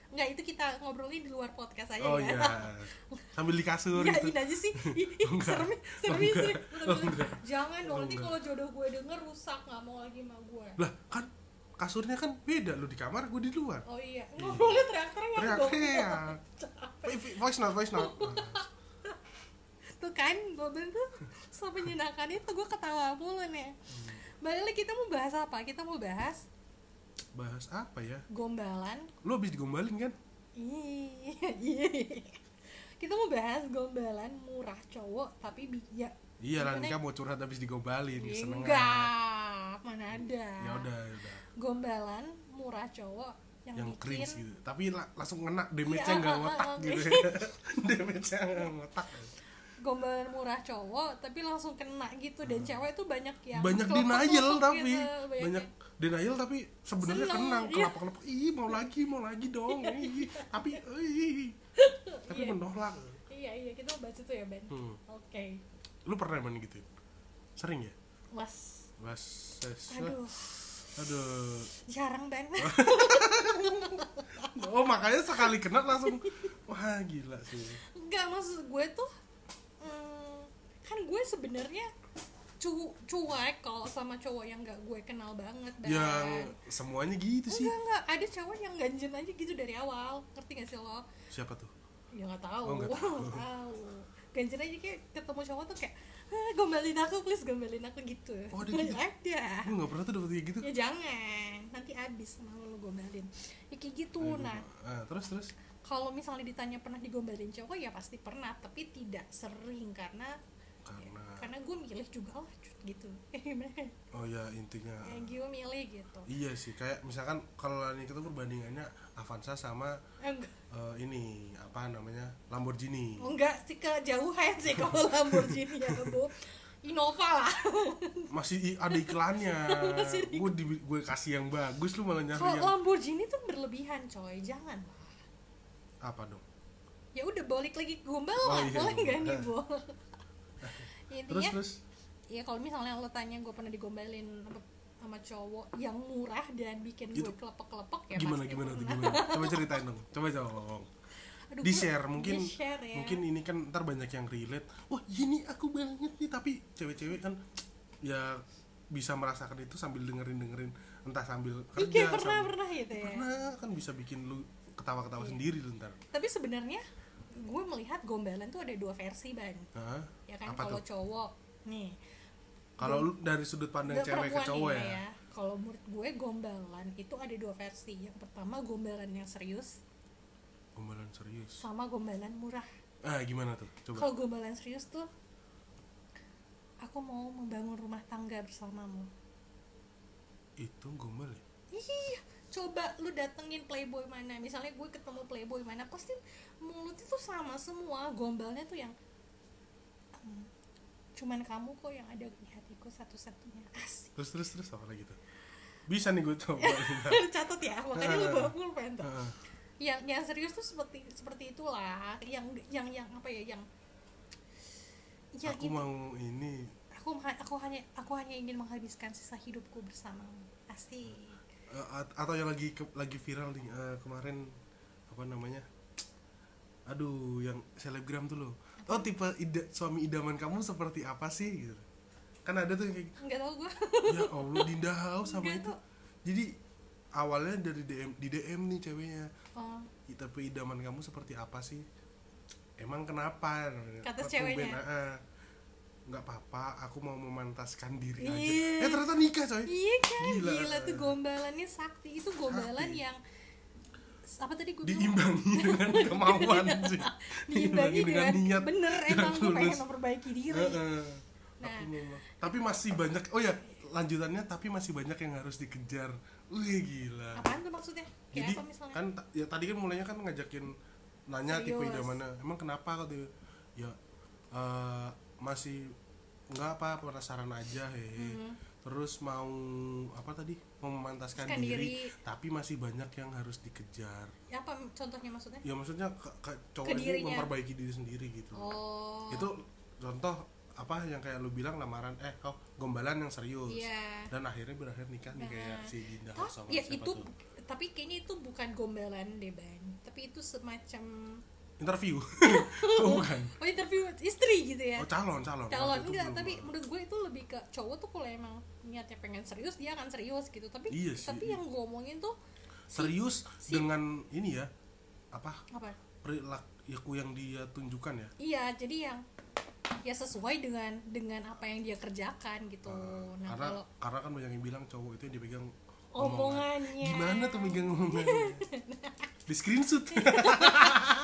Speaker 1: enggak itu kita ngobrolin di luar podcast aja
Speaker 2: oh
Speaker 1: ya
Speaker 2: iya sambil di kasur
Speaker 1: Ya,
Speaker 2: gitu
Speaker 1: ini aja sih. Ih, ih,
Speaker 2: Enggak. Oh,
Speaker 1: serem, serem sih.
Speaker 2: Enggak.
Speaker 1: Bentar, bentar.
Speaker 2: Enggak.
Speaker 1: Jangan dong, nanti
Speaker 2: Enggak.
Speaker 1: kalau jodoh gue denger rusak nggak mau lagi sama gue.
Speaker 2: lah kan kasurnya kan beda lu di kamar gue di luar
Speaker 1: Oh iya, ngobrolnya teriak-teriak Iya dong.
Speaker 2: teriak-teriak Vo- voice note voice note Nah,
Speaker 1: Tuh kan, gue bilang tuh so menyenangkan itu gue ketawa mulu nih.
Speaker 2: Hmm.
Speaker 1: Balik lagi kita mau bahas apa? Kita mau bahas
Speaker 2: bahas apa ya
Speaker 1: gombalan.
Speaker 2: lu habis digombalin kan
Speaker 1: Ih, ih. kita mau bahas gombalan murah cowok tapi bijak.
Speaker 2: iya lah
Speaker 1: Gimana?
Speaker 2: nikah mau curhat habis digombalin seneng
Speaker 1: Iya,
Speaker 2: aja.
Speaker 1: Enggak, mana ada.
Speaker 2: ya udah ya udah
Speaker 1: Gombalan murah cowok yang,
Speaker 2: yang
Speaker 1: bikin
Speaker 2: cringe gitu tapi la- langsung ngena damage-nya
Speaker 1: Iya,
Speaker 2: nggak
Speaker 1: ah, ah,
Speaker 2: ngotak
Speaker 1: ah,
Speaker 2: gitu damage-nya nggak ngotak
Speaker 1: gombalan murah cowok tapi langsung kena gitu dan cewek tuh banyak yang
Speaker 2: Hmm. banyak
Speaker 1: kelopak-kelopak
Speaker 2: denial
Speaker 1: Ya, gitu,
Speaker 2: tapi
Speaker 1: banyak
Speaker 2: banyak
Speaker 1: yang-
Speaker 2: denial tapi sebenarnya
Speaker 1: Seneng,
Speaker 2: kenang
Speaker 1: iya.
Speaker 2: kenapa kenapa ih mau lagi mau lagi dong ih, tapi ih, tapi
Speaker 1: Iya.
Speaker 2: menolak
Speaker 1: iya iya kita mau bahas itu ya Ben
Speaker 2: Hmm.
Speaker 1: oke
Speaker 2: lu pernah emang gitu sering ya
Speaker 1: was
Speaker 2: mas aduh,
Speaker 1: aduh jarang Ben
Speaker 2: oh makanya sekali kena langsung wah gila sih
Speaker 1: nggak maksud gue tuh mm, kan gue sebenarnya cu cuek kalau sama cowok yang nggak gue kenal banget Ben
Speaker 2: yang semuanya gitu sih
Speaker 1: enggak enggak ada cowok yang ganjen aja gitu dari awal ngerti gak sih lo
Speaker 2: siapa tuh
Speaker 1: ya nggak tahu
Speaker 2: Oh, nggak tahu.
Speaker 1: nggak tahu ganjen aja kayak ketemu cowok tuh kayak "Ah, gombalin aku please gombalin aku gitu
Speaker 2: Oh, ada gitu?
Speaker 1: ada
Speaker 2: lu nggak pernah tuh dapet kayak gitu
Speaker 1: ya jangan nanti abis sama lu gombalin ya kayak gitu
Speaker 2: Aduh,
Speaker 1: nah
Speaker 2: ah, terus terus
Speaker 1: kalau misalnya ditanya pernah digombalin cowok ya pasti pernah tapi tidak sering karena
Speaker 2: karena
Speaker 1: karena gue milih juga lah cut gitu ya
Speaker 2: oh ya intinya
Speaker 1: gue milih gitu
Speaker 2: iya sih kayak misalkan kalau ini kita perbandingannya Avanza sama
Speaker 1: enggak
Speaker 2: eh, ini apa namanya Lamborghini
Speaker 1: enggak sih kejauhan sih kalau Lamborghini ya bu Innova lah
Speaker 2: masih i- ada iklannya
Speaker 1: Masih ada
Speaker 2: gue di- gue kasih yang bagus lu malah nyari
Speaker 1: kalau
Speaker 2: yang
Speaker 1: Lamborghini tuh berlebihan coy jangan lah
Speaker 2: apa dong
Speaker 1: ya udah balik lagi ke gombal
Speaker 2: Oh,
Speaker 1: lah
Speaker 2: iya,
Speaker 1: boleh nggak
Speaker 2: gombal.
Speaker 1: nih bu
Speaker 2: terus
Speaker 1: intinya
Speaker 2: terus
Speaker 1: ya kalau misalnya lo tanya gue pernah digombalin apa sama cowok yang murah dan bikin
Speaker 2: Itu
Speaker 1: gue kelepek-kelepek ya
Speaker 2: Gitu? gimana
Speaker 1: pasti
Speaker 2: gimana tuh
Speaker 1: pernah.
Speaker 2: gimana coba ceritain dong coba jawab
Speaker 1: Aduh,
Speaker 2: di
Speaker 1: gua-
Speaker 2: share mungkin
Speaker 1: di-share ya.
Speaker 2: mungkin ini kan ntar banyak yang relate wah ini aku banget nih tapi cewek-cewek kan ya bisa merasakan itu sambil dengerin dengerin entah sambil
Speaker 1: Ih,
Speaker 2: kerja
Speaker 1: kayak pernah
Speaker 2: sambil-
Speaker 1: pernah gitu ya
Speaker 2: pernah kan bisa bikin lu ketawa-ketawa
Speaker 1: Iya.
Speaker 2: sendiri lu ntar
Speaker 1: tapi sebenarnya gue melihat gombalan tuh ada dua versi ban
Speaker 2: Hah?
Speaker 1: ya kan
Speaker 2: apa
Speaker 1: kalau
Speaker 2: tuh
Speaker 1: cowok nih
Speaker 2: kalau lu dari sudut pandang
Speaker 1: Nggak,
Speaker 2: cewek ke
Speaker 1: perempuan
Speaker 2: cowok
Speaker 1: ini
Speaker 2: ya,
Speaker 1: kalau menurut gue gombalan itu ada dua versi yang pertama gombalan yang serius
Speaker 2: gombalan serius
Speaker 1: sama gombalan murah
Speaker 2: ah gimana tuh coba
Speaker 1: kalau gombalan serius tuh aku mau membangun rumah tangga bersamamu
Speaker 2: itu gombal ya
Speaker 1: Iya, coba lu datengin playboy mana. Misalnya gue ketemu playboy mana, pasti mulutnya tuh sama semua, gombalnya tuh yang "Em, cuman kamu kok yang ada di hatiku satu-satunya. Asik.
Speaker 2: terus terus terus apa lagi tuh bisa nih gue coba ntar.
Speaker 1: Catat ya, makanya lu
Speaker 2: Ah.
Speaker 1: bawa pulpen tuh.
Speaker 2: Heeh.
Speaker 1: Yang yang serius tuh seperti seperti itulah, yang yang yang apa ya, yang ya yang
Speaker 2: aku
Speaker 1: ini-
Speaker 2: mau ini
Speaker 1: aku ma- aku hanya aku hanya ingin menghabiskan sisa hidupku bersamamu. Asik.
Speaker 2: Eh, at- atau yang lagi ke- lagi viral nih eh, kemarin apa namanya aduh yang selebgram tuh loh oh tipe ida- suami idaman kamu seperti apa sih gitu kan ada tuh yang kayak
Speaker 1: Enggak tahu gue.
Speaker 2: ya allah Dinda House sama
Speaker 1: Enggak
Speaker 2: itu
Speaker 1: tuh.
Speaker 2: jadi awalnya dari DM di DM nih ceweknya
Speaker 1: Oh.
Speaker 2: "Ih, tapi idaman kamu seperti apa sih emang kenapa
Speaker 1: Kata
Speaker 2: Aku
Speaker 1: ceweknya.
Speaker 2: ben- "Ah, nggak apa-apa aku mau memantaskan diri aja
Speaker 1: Ih.
Speaker 2: eh ternyata nikah coy
Speaker 1: Iya kan,
Speaker 2: Gila.
Speaker 1: gila, tuh gombalannya sakti itu gombalan
Speaker 2: Sakti.
Speaker 1: yang apa tadi gue bilang
Speaker 2: diimbangi dengan kemauan sih
Speaker 1: diimbangi dengan,
Speaker 2: niat
Speaker 1: bener emang gue pengen
Speaker 2: tulus.
Speaker 1: memperbaiki diri.
Speaker 2: Heeh.
Speaker 1: Nah.
Speaker 2: Aku memang- tapi masih banyak oh ya lanjutannya tapi masih banyak yang harus dikejar wih gila
Speaker 1: Apaan tuh maksudnya? Kayak
Speaker 2: jadi
Speaker 1: apa misalnya?
Speaker 2: kan ta- ya tadi kan mulainya kan ngajakin nanya tipe
Speaker 1: Serius.
Speaker 2: idamannya emang kenapa kok tuh ya eh, masih nggak apa penasaran aja hehe
Speaker 1: Mhm.
Speaker 2: terus mau apa tadi mau memantaskan
Speaker 1: Kan diri.
Speaker 2: diri, tapi masih banyak yang harus dikejar
Speaker 1: Ya, apa contohnya maksudnya?
Speaker 2: ya maksudnya ke, ke- cowok
Speaker 1: Ke
Speaker 2: ini
Speaker 1: dirinya.
Speaker 2: memperbaiki diri sendiri gitu
Speaker 1: Oh.
Speaker 2: itu contoh apa yang kayak lu bilang lamaran eh kok gombalan yang serius
Speaker 1: Iya.
Speaker 2: dan akhirnya berakhir nikah
Speaker 1: Nah.
Speaker 2: nih kayak si Dinda
Speaker 1: Tapi
Speaker 2: sama
Speaker 1: ya
Speaker 2: siapa
Speaker 1: itu
Speaker 2: tuh?
Speaker 1: tapi kayaknya itu bukan gombalan deh ban tapi itu semacam
Speaker 2: interview oh, bukan
Speaker 1: oh interview istri gitu ya
Speaker 2: oh calon calon
Speaker 1: calon
Speaker 2: Waktu itu
Speaker 1: enggak
Speaker 2: belum.
Speaker 1: tapi menurut gue itu lebih ke cowok tuh kalau emang niatnya pengen serius dia akan serius gitu tapi
Speaker 2: Iya sih,
Speaker 1: tapi
Speaker 2: iya.
Speaker 1: yang gue omongin tuh si-
Speaker 2: serius
Speaker 1: si-
Speaker 2: dengan ini ya apa
Speaker 1: apa
Speaker 2: perilaku yang dia tunjukkan ya
Speaker 1: iya jadi yang ya sesuai dengan dengan apa yang dia kerjakan gitu
Speaker 2: Eh,
Speaker 1: nah
Speaker 2: karena
Speaker 1: kalau
Speaker 2: karena kan banyak yang bilang cowok itu yang dipegang omongan.
Speaker 1: omongannya
Speaker 2: gimana tuh megang omongannya di screenshot oh iya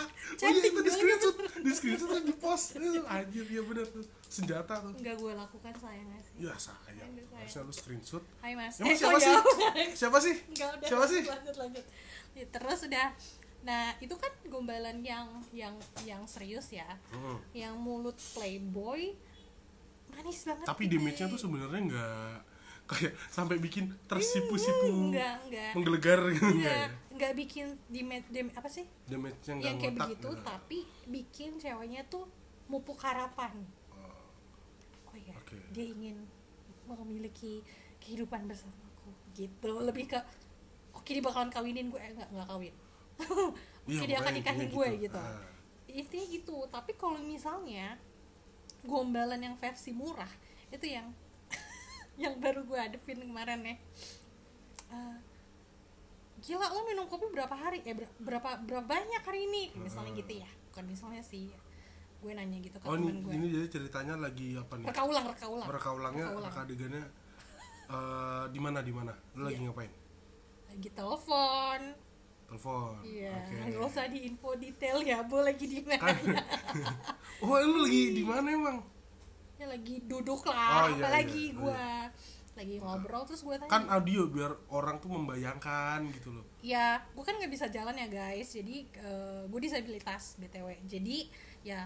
Speaker 1: Chatting
Speaker 2: itu di
Speaker 1: dulu.
Speaker 2: screenshot di screenshot terus di post Eh, anjir ya bener tuh senjata tuh
Speaker 1: nggak gue lakukan sayang nggak sih
Speaker 2: ya sayang
Speaker 1: Aduh, sayang.
Speaker 2: harusnya lu screenshot
Speaker 1: hai mas
Speaker 2: emang
Speaker 1: Eh,
Speaker 2: siapa
Speaker 1: kok
Speaker 2: sih
Speaker 1: jawab?
Speaker 2: siapa sih
Speaker 1: Enggak udah.
Speaker 2: siapa sih
Speaker 1: Lanjut lanjut. Ya, terus udah. Nah, itu kan gombalan yang yang yang serius ya.
Speaker 2: Hmm.
Speaker 1: Yang mulut playboy manis banget.
Speaker 2: tapi
Speaker 1: gitu.
Speaker 2: damage-nya tuh sebenarnya nggak kayak sampai bikin tersipu-sipu
Speaker 1: enggak enggak.
Speaker 2: menggelegar gitu enggak
Speaker 1: Enggak,
Speaker 2: ya
Speaker 1: enggak bikin damage damage apa sih?
Speaker 2: damage-nya nggak
Speaker 1: yang kayak
Speaker 2: ngotak, gitu.
Speaker 1: begitu
Speaker 2: nggak.
Speaker 1: tapi bikin ceweknya tuh mupuk harapan.
Speaker 2: Oh,
Speaker 1: Oh iya.
Speaker 2: Oke.
Speaker 1: Dia ingin memiliki kehidupan bersamaku gitu. Lebih ke oke dia bakalan kawinin gue eh, enggak enggak kawin.
Speaker 2: iya,
Speaker 1: Oke, dia akan
Speaker 2: pokoknya
Speaker 1: nikahin
Speaker 2: intinya
Speaker 1: gue gitu.
Speaker 2: Ah.
Speaker 1: intinya gitu tapi kalau misalnya gombalan yang versi murah itu yang yang baru gue hadepin kemarin ya Eh, gila lo minum kopi berapa hari eh ber- berapa berapa banyak hari ini misalnya
Speaker 2: Hmm.
Speaker 1: gitu ya bukan misalnya sih gue nanya gitu ke
Speaker 2: oh ini,
Speaker 1: temen gue
Speaker 2: ini jadi ceritanya lagi apa nih
Speaker 1: rekaulang rekaulang
Speaker 2: mereka ulangnya
Speaker 1: Reka ulang.
Speaker 2: reka adegannya eh, di mana di mana lu lagi
Speaker 1: Iya.
Speaker 2: ngapain
Speaker 1: lagi telepon
Speaker 2: telepon
Speaker 1: iya
Speaker 2: oke
Speaker 1: nggak usah di info detail ya bu lagi di mana
Speaker 2: Kan- oh lu lagi di mana emang
Speaker 1: ya lagi duduk lah
Speaker 2: Oh, iya,
Speaker 1: apalagi
Speaker 2: iya,
Speaker 1: gue lagi ngobrol terus gue tanya
Speaker 2: kan audio biar orang tuh membayangkan gitu loh
Speaker 1: ya gue kan nggak bisa jalan ya guys jadi gue disabilitas btw jadi ya Iya.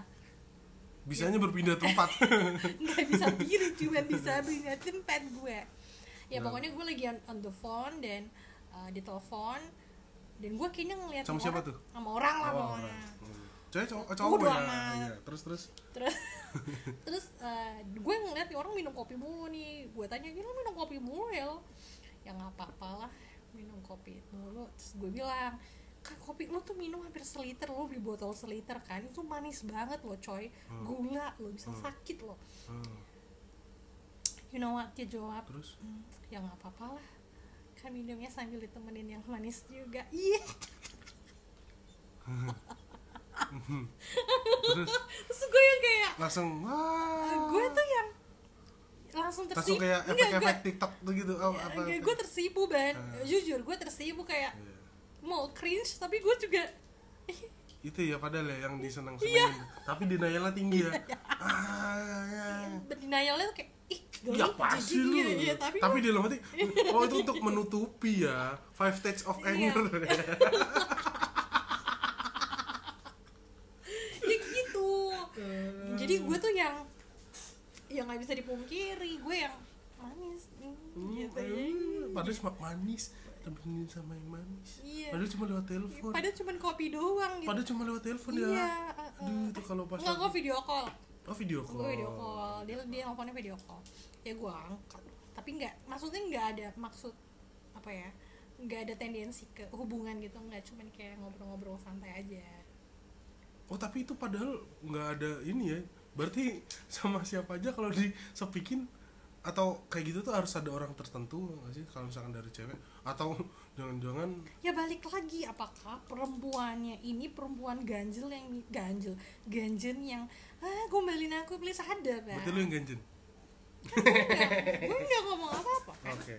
Speaker 2: bisanya berpindah tempat
Speaker 1: nggak bisa diri cuma bisa punya tempat gue ya
Speaker 2: Nah.
Speaker 1: pokoknya gue lagi on, on the phone dan uh, di telepon dan gue kayaknya ngeliat
Speaker 2: Sama siapa
Speaker 1: orang-
Speaker 2: tuh?
Speaker 1: sama orang lah sama
Speaker 2: Oh,
Speaker 1: orang.
Speaker 2: orang. cewek cowok
Speaker 1: Bodoh
Speaker 2: cowok ya
Speaker 1: amat.
Speaker 2: Iya, terus terus
Speaker 1: terus terus eh, gue ngeliat nih orang minum kopi mulu nih gue tanya gini "Lo minum kopi mulu ya lo ya nggak apa-apa lah minum kopi mulu terus gue bilang kan kopi lo tuh minum hampir seliter lo beli botol seliter kan itu manis banget lo coy
Speaker 2: Hmm.
Speaker 1: gula lo bisa
Speaker 2: Hmm.
Speaker 1: sakit lo
Speaker 2: Hmm,
Speaker 1: you know what dia jawab
Speaker 2: terus
Speaker 1: "Hmm, ya nggak apa-apa lah kan minumnya sambil ditemenin yang manis juga iya
Speaker 2: Hmm. terus
Speaker 1: terus gue yang kayak
Speaker 2: langsung
Speaker 1: eh,
Speaker 2: wah
Speaker 1: gue tuh yang langsung
Speaker 2: langsung
Speaker 1: tersipu
Speaker 2: kayak
Speaker 1: Enggak,
Speaker 2: efek-efek
Speaker 1: gue-
Speaker 2: TikTok tuh gitu oh, apa
Speaker 1: Enggak, gue tersipu ban
Speaker 2: Ah.
Speaker 1: jujur gue tersipu kayak
Speaker 2: Iya.
Speaker 1: mau cringe tapi gue juga
Speaker 2: itu ya padahal ya yang disenang
Speaker 1: Iya.
Speaker 2: senangin tapi denialnya tinggi ya ah, ya, ya.
Speaker 1: berdenialnya tuh kayak ih geli,
Speaker 2: Ya pasti
Speaker 1: jijik,
Speaker 2: lu.
Speaker 1: iya, iya, tapi,
Speaker 2: tapi di dalam hati, oh itu untuk menutupi ya five stages of
Speaker 1: Iya.
Speaker 2: anger.
Speaker 1: ya gitu jadi
Speaker 2: Hmm.
Speaker 1: gue tuh yang yang nggak bisa dipungkiri gue yang manis hmm, gitu ya.
Speaker 2: Hmm, Padahal cuma manis, temenin sama yang manis.
Speaker 1: Iya.
Speaker 2: Padahal cuma lewat telepon.
Speaker 1: padahal cuman kopi doang gitu
Speaker 2: Padahal cuma lewat telepon ya.
Speaker 1: iya
Speaker 2: Aduh, itu kalau pas
Speaker 1: nggak gue video call
Speaker 2: Oh, video call.
Speaker 1: gue video call dia dia teleponnya video call ya gue angkat tapi nggak maksudnya nggak ada maksud apa ya nggak ada tendensi ke hubungan gitu nggak cuman kayak ngobrol-ngobrol santai aja
Speaker 2: Oh, tapi itu padahal nggak ada ini ya. Berarti sama siapa aja kalau disepikin atau kayak gitu tuh harus ada orang tertentu nggak sih kalau misalkan dari cewek atau jangan-jangan
Speaker 1: ya balik lagi apakah perempuannya ini perempuan ganjil yang ganjil ganjen yang ah gombalin aku please ada Bang."
Speaker 2: berarti lu yang ganjen.
Speaker 1: gue Kan nggak ngomong apa-apa kan
Speaker 2: Oke.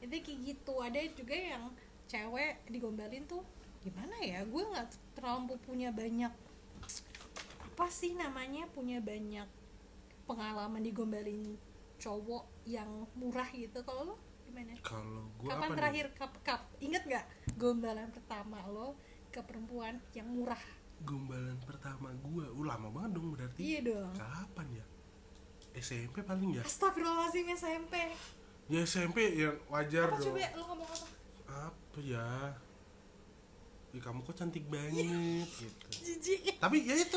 Speaker 1: itu kayak gitu ada juga yang cewek digombalin tuh gimana ya gue nggak terlalu punya banyak apa sih namanya punya banyak pengalaman digombalin cowok yang murah gitu kalau lo gimana
Speaker 2: Kalau gua
Speaker 1: kapan
Speaker 2: apa nih?
Speaker 1: terakhir kap kap inget nggak gombalan pertama lo ke perempuan yang murah
Speaker 2: gombalan pertama gua uh, lama banget dong berarti
Speaker 1: iya dong
Speaker 2: kapan ya SMP paling ya
Speaker 1: Astagfirullahaladzim SMP
Speaker 2: ya SMP yang wajar
Speaker 1: Apa
Speaker 2: dong
Speaker 1: coba lo ngomong apa?
Speaker 2: apa ya Ih, kamu kok cantik
Speaker 1: Iya.
Speaker 2: banget gitu
Speaker 1: Jijik
Speaker 2: tapi ya itu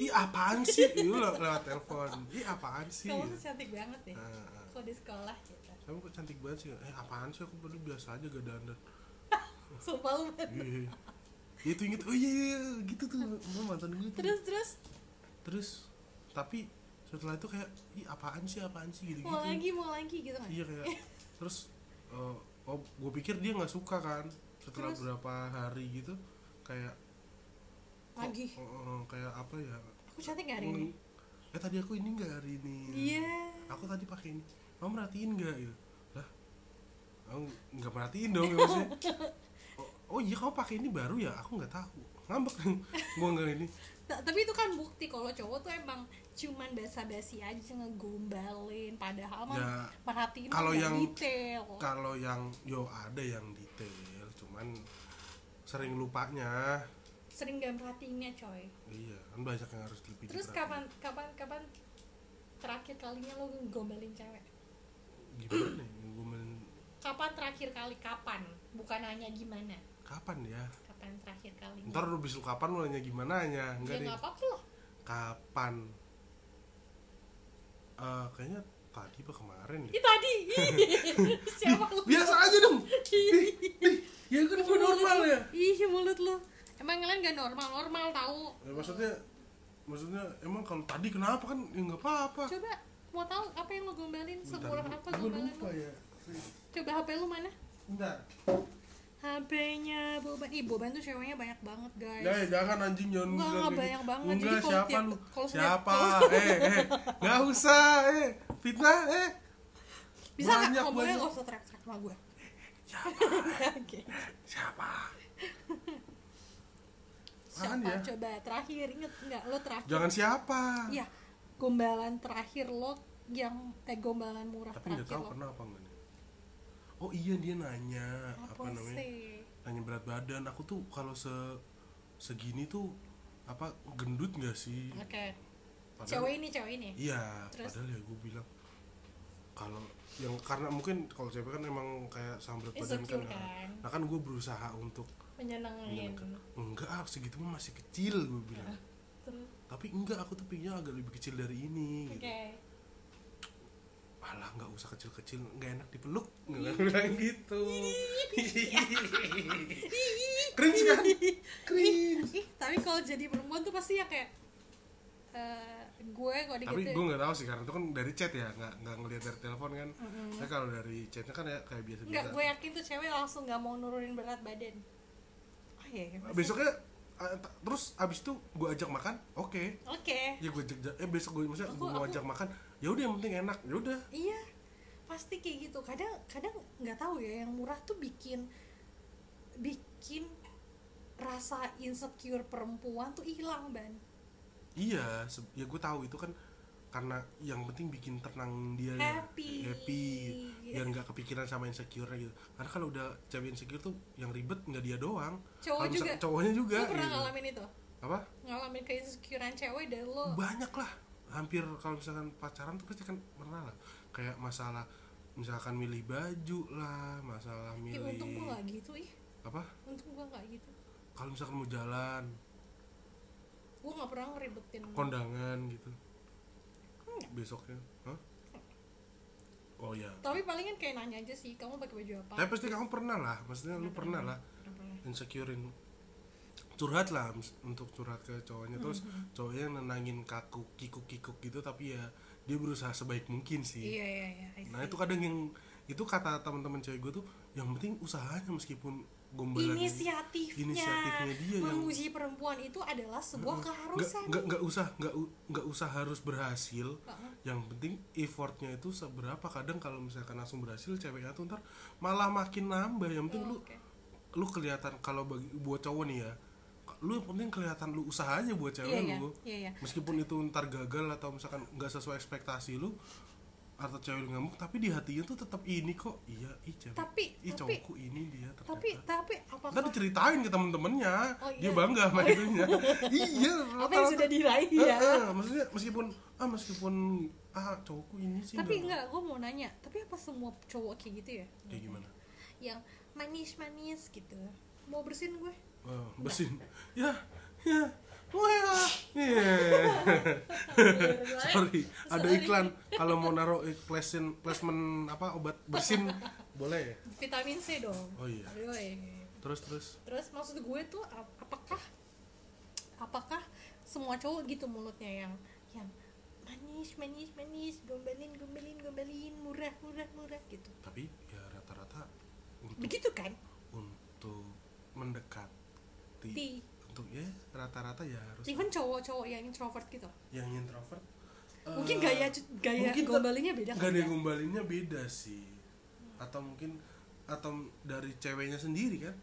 Speaker 2: ih apaan sih itu lewat telepon ih apaan sih
Speaker 1: Kamu tuh cantik banget deh
Speaker 2: Ah, ah.
Speaker 1: Kok di sekolah gitu
Speaker 2: kamu kok cantik banget sih eh apaan sih aku baru biasa aja gak dandan
Speaker 1: Sumpah lu banget.
Speaker 2: Iya, iya. itu inget oh iya, iya gitu tuh Gua mantan gue tuh.
Speaker 1: Terus terus
Speaker 2: terus tapi setelah itu kayak ih apaan sih apaan sih gitu gitu
Speaker 1: mau lagi mau lagi gitu kan?
Speaker 2: iya kayak terus eh, oh gue pikir dia nggak suka kan setelah
Speaker 1: Terus?
Speaker 2: berapa hari gitu kayak kok,
Speaker 1: Lagi.
Speaker 2: eh, eh, kayak apa ya
Speaker 1: Aku cantik gak hari ini?
Speaker 2: Hmm, eh tadi aku ini nggak hari ini
Speaker 1: Iya.
Speaker 2: aku tadi pakai ini kamu merhatiin nggak gitu lah aku nggak merhatiin dong maksudnya oh, oh iya kamu pakai ini baru ya aku nggak tahu ngambek gue nggak ini
Speaker 1: Ta- Tapi itu kan bukti kalau cowok tuh emang cuman basa-basi aja ngegombalin padahal mah
Speaker 2: Ya,
Speaker 1: perhatiin
Speaker 2: kalau
Speaker 1: nggak
Speaker 2: yang-
Speaker 1: detail.
Speaker 2: kalau yang yo ada yang detail cuman sering lupanya
Speaker 1: Sering gak perhatiinnya coy.
Speaker 2: iya kan banyak yang harus lebih
Speaker 1: Terus
Speaker 2: diperhatiin.
Speaker 1: kapan kapan kapan terakhir kalinya lo ngegombalin cewek?
Speaker 2: gimana ya gue main
Speaker 1: Kapan terakhir kali kapan? Bukan hanya gimana.
Speaker 2: kapan ya
Speaker 1: Kapan terakhir kali?
Speaker 2: ntar lu bisul kapan lu nanya gimana nya
Speaker 1: ya
Speaker 2: enggak deh
Speaker 1: nggak apa-apa lah.
Speaker 2: kapan Eh, kayaknya tadi apa kemarin deh
Speaker 1: Ih tadi. Ih, Siapa lu?
Speaker 2: biasa aja dong
Speaker 1: Ih.
Speaker 2: ya kan gue normal ya
Speaker 1: Ih Iya, mulut lu. Emang kalian gak normal normal tahu.
Speaker 2: Ya, maksudnya maksudnya emang kalau tadi kenapa kan ya nggak apa-apa
Speaker 1: Coba mau tahu apa yang lo gombalin semurah apa
Speaker 2: gue
Speaker 1: gombalan
Speaker 2: lupa
Speaker 1: lo?
Speaker 2: ya
Speaker 1: Coba HP lu mana?
Speaker 2: bentar
Speaker 1: HP-nya Boban. Ih Boban tuh ceweknya banyak banget guys.
Speaker 2: Ya, jangan anjing jangan
Speaker 1: Enggak,
Speaker 2: bilang
Speaker 1: enggak,
Speaker 2: kayak
Speaker 1: banyak
Speaker 2: gitu.
Speaker 1: banget. Jadi
Speaker 2: Enggak,
Speaker 1: kalau
Speaker 2: siapa
Speaker 1: tiap-
Speaker 2: lu?
Speaker 1: kalau punya-
Speaker 2: siapa?
Speaker 1: kalau-
Speaker 2: eh, eh, enggak usah, eh. Fitnah, eh.
Speaker 1: Bisa nggak
Speaker 2: banyak,
Speaker 1: ngomongnya
Speaker 2: banyak.
Speaker 1: nggak usah teriak-teriak sama gue?
Speaker 2: Siapa?
Speaker 1: Oke.
Speaker 2: Siapa? Apaan
Speaker 1: Siapa
Speaker 2: ya?
Speaker 1: coba terakhir inget nggak lo terakhir?
Speaker 2: Jangan siapa.
Speaker 1: Iya. gombalan terakhir lo yang eh gombalan murah
Speaker 2: tapi
Speaker 1: terakhir
Speaker 2: nggak tahu
Speaker 1: lo
Speaker 2: pernah apa enggak nih oh iya dia nanya apa,
Speaker 1: apa
Speaker 2: namanya
Speaker 1: sih
Speaker 2: nanya berat badan aku tuh kalau se segini tuh apa gendut nggak sih
Speaker 1: oke
Speaker 2: Iya. Padahal-
Speaker 1: cewek ini cewek ini
Speaker 2: Iya,
Speaker 1: Terus?
Speaker 2: padahal ya gue bilang kalau yang karena mungkin kalau cewek kan emang kayak sambil badan kan,
Speaker 1: Insecure
Speaker 2: nah.
Speaker 1: kan?
Speaker 2: nah kan gue berusaha untuk
Speaker 1: menyenangin
Speaker 2: menyenangkan enggak ah, segitu mah masih kecil gue bilang
Speaker 1: terus
Speaker 2: tapi enggak aku tuh pinginnya agak lebih kecil dari ini
Speaker 1: oke
Speaker 2: gitu. alah nggak usah kecil-kecil nggak enak dipeluk nggak bilang gitu cringe kan
Speaker 1: Gitu.
Speaker 2: cringe
Speaker 1: ih tapi kalau jadi perempuan tuh pasti yang kayak eh, gue kok
Speaker 2: tapi
Speaker 1: dikitin
Speaker 2: gue nggak tahu sih karena itu kan dari chat ya nggak nggak ngelihat dari telepon kan Nah, kalau dari chatnya kan ya kayak biasa
Speaker 1: Enggak,
Speaker 2: biasa
Speaker 1: gue yakin tuh cewek langsung gak mau nurunin berat badan. Oh iya, iya, pasti.
Speaker 2: besoknya eh, ta- terus abis itu gue ajak makan oke
Speaker 1: Oke.
Speaker 2: ya gue ajak eh besok gue maksudnya
Speaker 1: Aku-
Speaker 2: gue mau
Speaker 1: aku-
Speaker 2: ajak makan ya udah yang penting enak ya udah
Speaker 1: Iya. Pasti kayak gitu. Kadang kadang nggak tahu ya yang murah tuh bikin bikin rasa insecure perempuan tuh hilang, Ban.
Speaker 2: iya se- ya gue tahu itu kan karena yang penting bikin tenang dia ya.
Speaker 1: Happy.
Speaker 2: happy biar nggak kepikiran sama insecure gitu karena kalau udah cewek insecure tuh yang ribet nggak dia doang
Speaker 1: Cowok
Speaker 2: Kalau misalnya
Speaker 1: juga.
Speaker 2: cowoknya juga
Speaker 1: Lo pernah
Speaker 2: gitu.
Speaker 1: ngalamin Oh. itu?
Speaker 2: apa
Speaker 1: Ngalamin keinsecurean cewek dan lo
Speaker 2: banyak lah hampir kalau misalkan pacaran tuh pasti kan pernah lah kayak masalah misalkan milih baju lah masalah
Speaker 1: Ih,
Speaker 2: milih
Speaker 1: untung gue gak gitu, ih.
Speaker 2: apa
Speaker 1: Untung gue gak gitu.
Speaker 2: kalau misalkan mau jalan
Speaker 1: Gue gak pernah ngeribetin.
Speaker 2: kondangan gitu
Speaker 1: Enggak.
Speaker 2: besoknya Hah? oh ya
Speaker 1: Tapi palingan kayak nanya aja sih, kamu pakai baju apa?
Speaker 2: tapi pasti kamu pernah lah maksudnya lu pernah lah
Speaker 1: Nggak pernah.
Speaker 2: insecurein curhat lah mis- untuk curhat ke cowoknya terus cowoknya nenangin kaku kikuk kikuk gitu tapi ya dia berusaha sebaik mungkin sih
Speaker 1: Iya, iya, iya. I
Speaker 2: nah
Speaker 1: see.
Speaker 2: itu kadang yang itu kata teman-teman cewek gue tuh yang penting usahanya meskipun gombalan
Speaker 1: inisiatifnya,
Speaker 2: Inisiatifnya dia yang-
Speaker 1: memuji perempuan itu adalah sebuah keharusan
Speaker 2: nggak nggak usah nggak u- nggak usah harus berhasil
Speaker 1: Heeh.
Speaker 2: yang penting effortnya itu seberapa kadang kalau misalkan langsung berhasil ceweknya tuh ntar malah makin nambah yang penting lu
Speaker 1: Iya, Oke.
Speaker 2: lu kelihatan kalau bagi buat cowok nih ya lu yang penting kelihatan lu usahanya buat cewek
Speaker 1: Iya, iya,
Speaker 2: lu
Speaker 1: iya, iya.
Speaker 2: meskipun itu ntar gagal atau misalkan nggak sesuai ekspektasi lu atau cewek lu ngamuk tapi di hatinya tuh tetap ini kok iya ih cewek
Speaker 1: Tapi-
Speaker 2: ih
Speaker 1: tapi-
Speaker 2: cowokku ini dia ternyata
Speaker 1: tapi tapi
Speaker 2: Ntar
Speaker 1: apakah
Speaker 2: diceritain ke temen-temennya
Speaker 1: Oh, iya.
Speaker 2: dia bangga sama itunya iya
Speaker 1: apa yang
Speaker 2: rata-rata.
Speaker 1: sudah diraih
Speaker 2: Eh,
Speaker 1: ya
Speaker 2: eh, maksudnya meskipun ah meskipun ah cowokku ini sih
Speaker 1: tapi
Speaker 2: nggak-
Speaker 1: enggak gue mau nanya tapi apa semua cowok kayak gitu ya
Speaker 2: kayak gimana
Speaker 1: yang manis manis gitu mau bersin gue
Speaker 2: Eh, bersin ya ya wah yeah. sorry ada iklan kalau mau naruh placement placement apa obat bersin boleh ya
Speaker 1: vitamin C dong
Speaker 2: Oh, iya.
Speaker 1: Yoi.
Speaker 2: terus terus
Speaker 1: terus maksud gue tuh ap- apakah apakah semua cowok gitu mulutnya yang yang manis manis manis gombalin gombalin gombalin murah murah murah gitu
Speaker 2: tapi ya rata-rata untuk
Speaker 1: begitu kan
Speaker 2: untuk mendekati
Speaker 1: Ti.
Speaker 2: untuk ya rata-rata ya harus
Speaker 1: even cowok-cowok yang introvert gitu
Speaker 2: yang introvert eh,
Speaker 1: mungkin gaya gaya
Speaker 2: mungkin
Speaker 1: gombalinnya beda kan
Speaker 2: gaya
Speaker 1: ya?
Speaker 2: gombalinnya beda sih atau mungkin atau dari ceweknya sendiri kan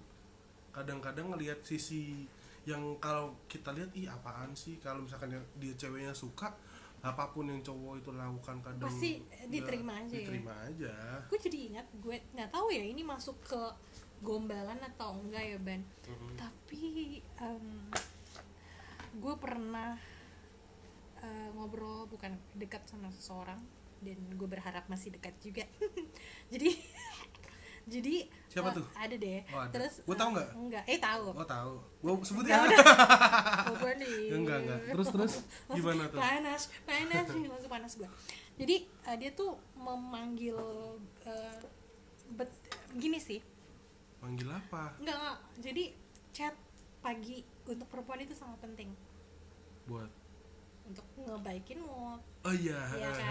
Speaker 2: kadang-kadang ngelihat sisi yang kalau kita lihat ih apaan sih kalau misalkan yang dia ceweknya suka apapun yang cowok itu lakukan kadang
Speaker 1: Pasti, eh,
Speaker 2: ya,
Speaker 1: diterima aja ya?
Speaker 2: diterima aja
Speaker 1: gue jadi ingat gue nggak tahu ya ini masuk ke gombalan atau enggak ya ban tapi em, gue pernah eh, ngobrol bukan dekat sama seseorang dan gue berharap masih dekat juga jadi jadi
Speaker 2: Siapa
Speaker 1: eh,
Speaker 2: tuh?
Speaker 1: ada deh
Speaker 2: Oh, ada.
Speaker 1: terus
Speaker 2: Gua tahu
Speaker 1: eh,
Speaker 2: nggak?
Speaker 1: enggak eh tahu
Speaker 2: oh tahu gua sebut
Speaker 1: Nggak
Speaker 2: ya
Speaker 1: udah. Gue nih.
Speaker 2: enggak enggak terus terus gimana tuh
Speaker 1: panas panas nih, langsung panas gue jadi eh, dia tuh memanggil eh, bet- gini sih
Speaker 2: panggil apa
Speaker 1: enggak, enggak jadi chat pagi untuk perempuan itu sangat penting
Speaker 2: buat
Speaker 1: untuk ngebaikin mood
Speaker 2: oh iya
Speaker 1: Iya kan?
Speaker 2: eh,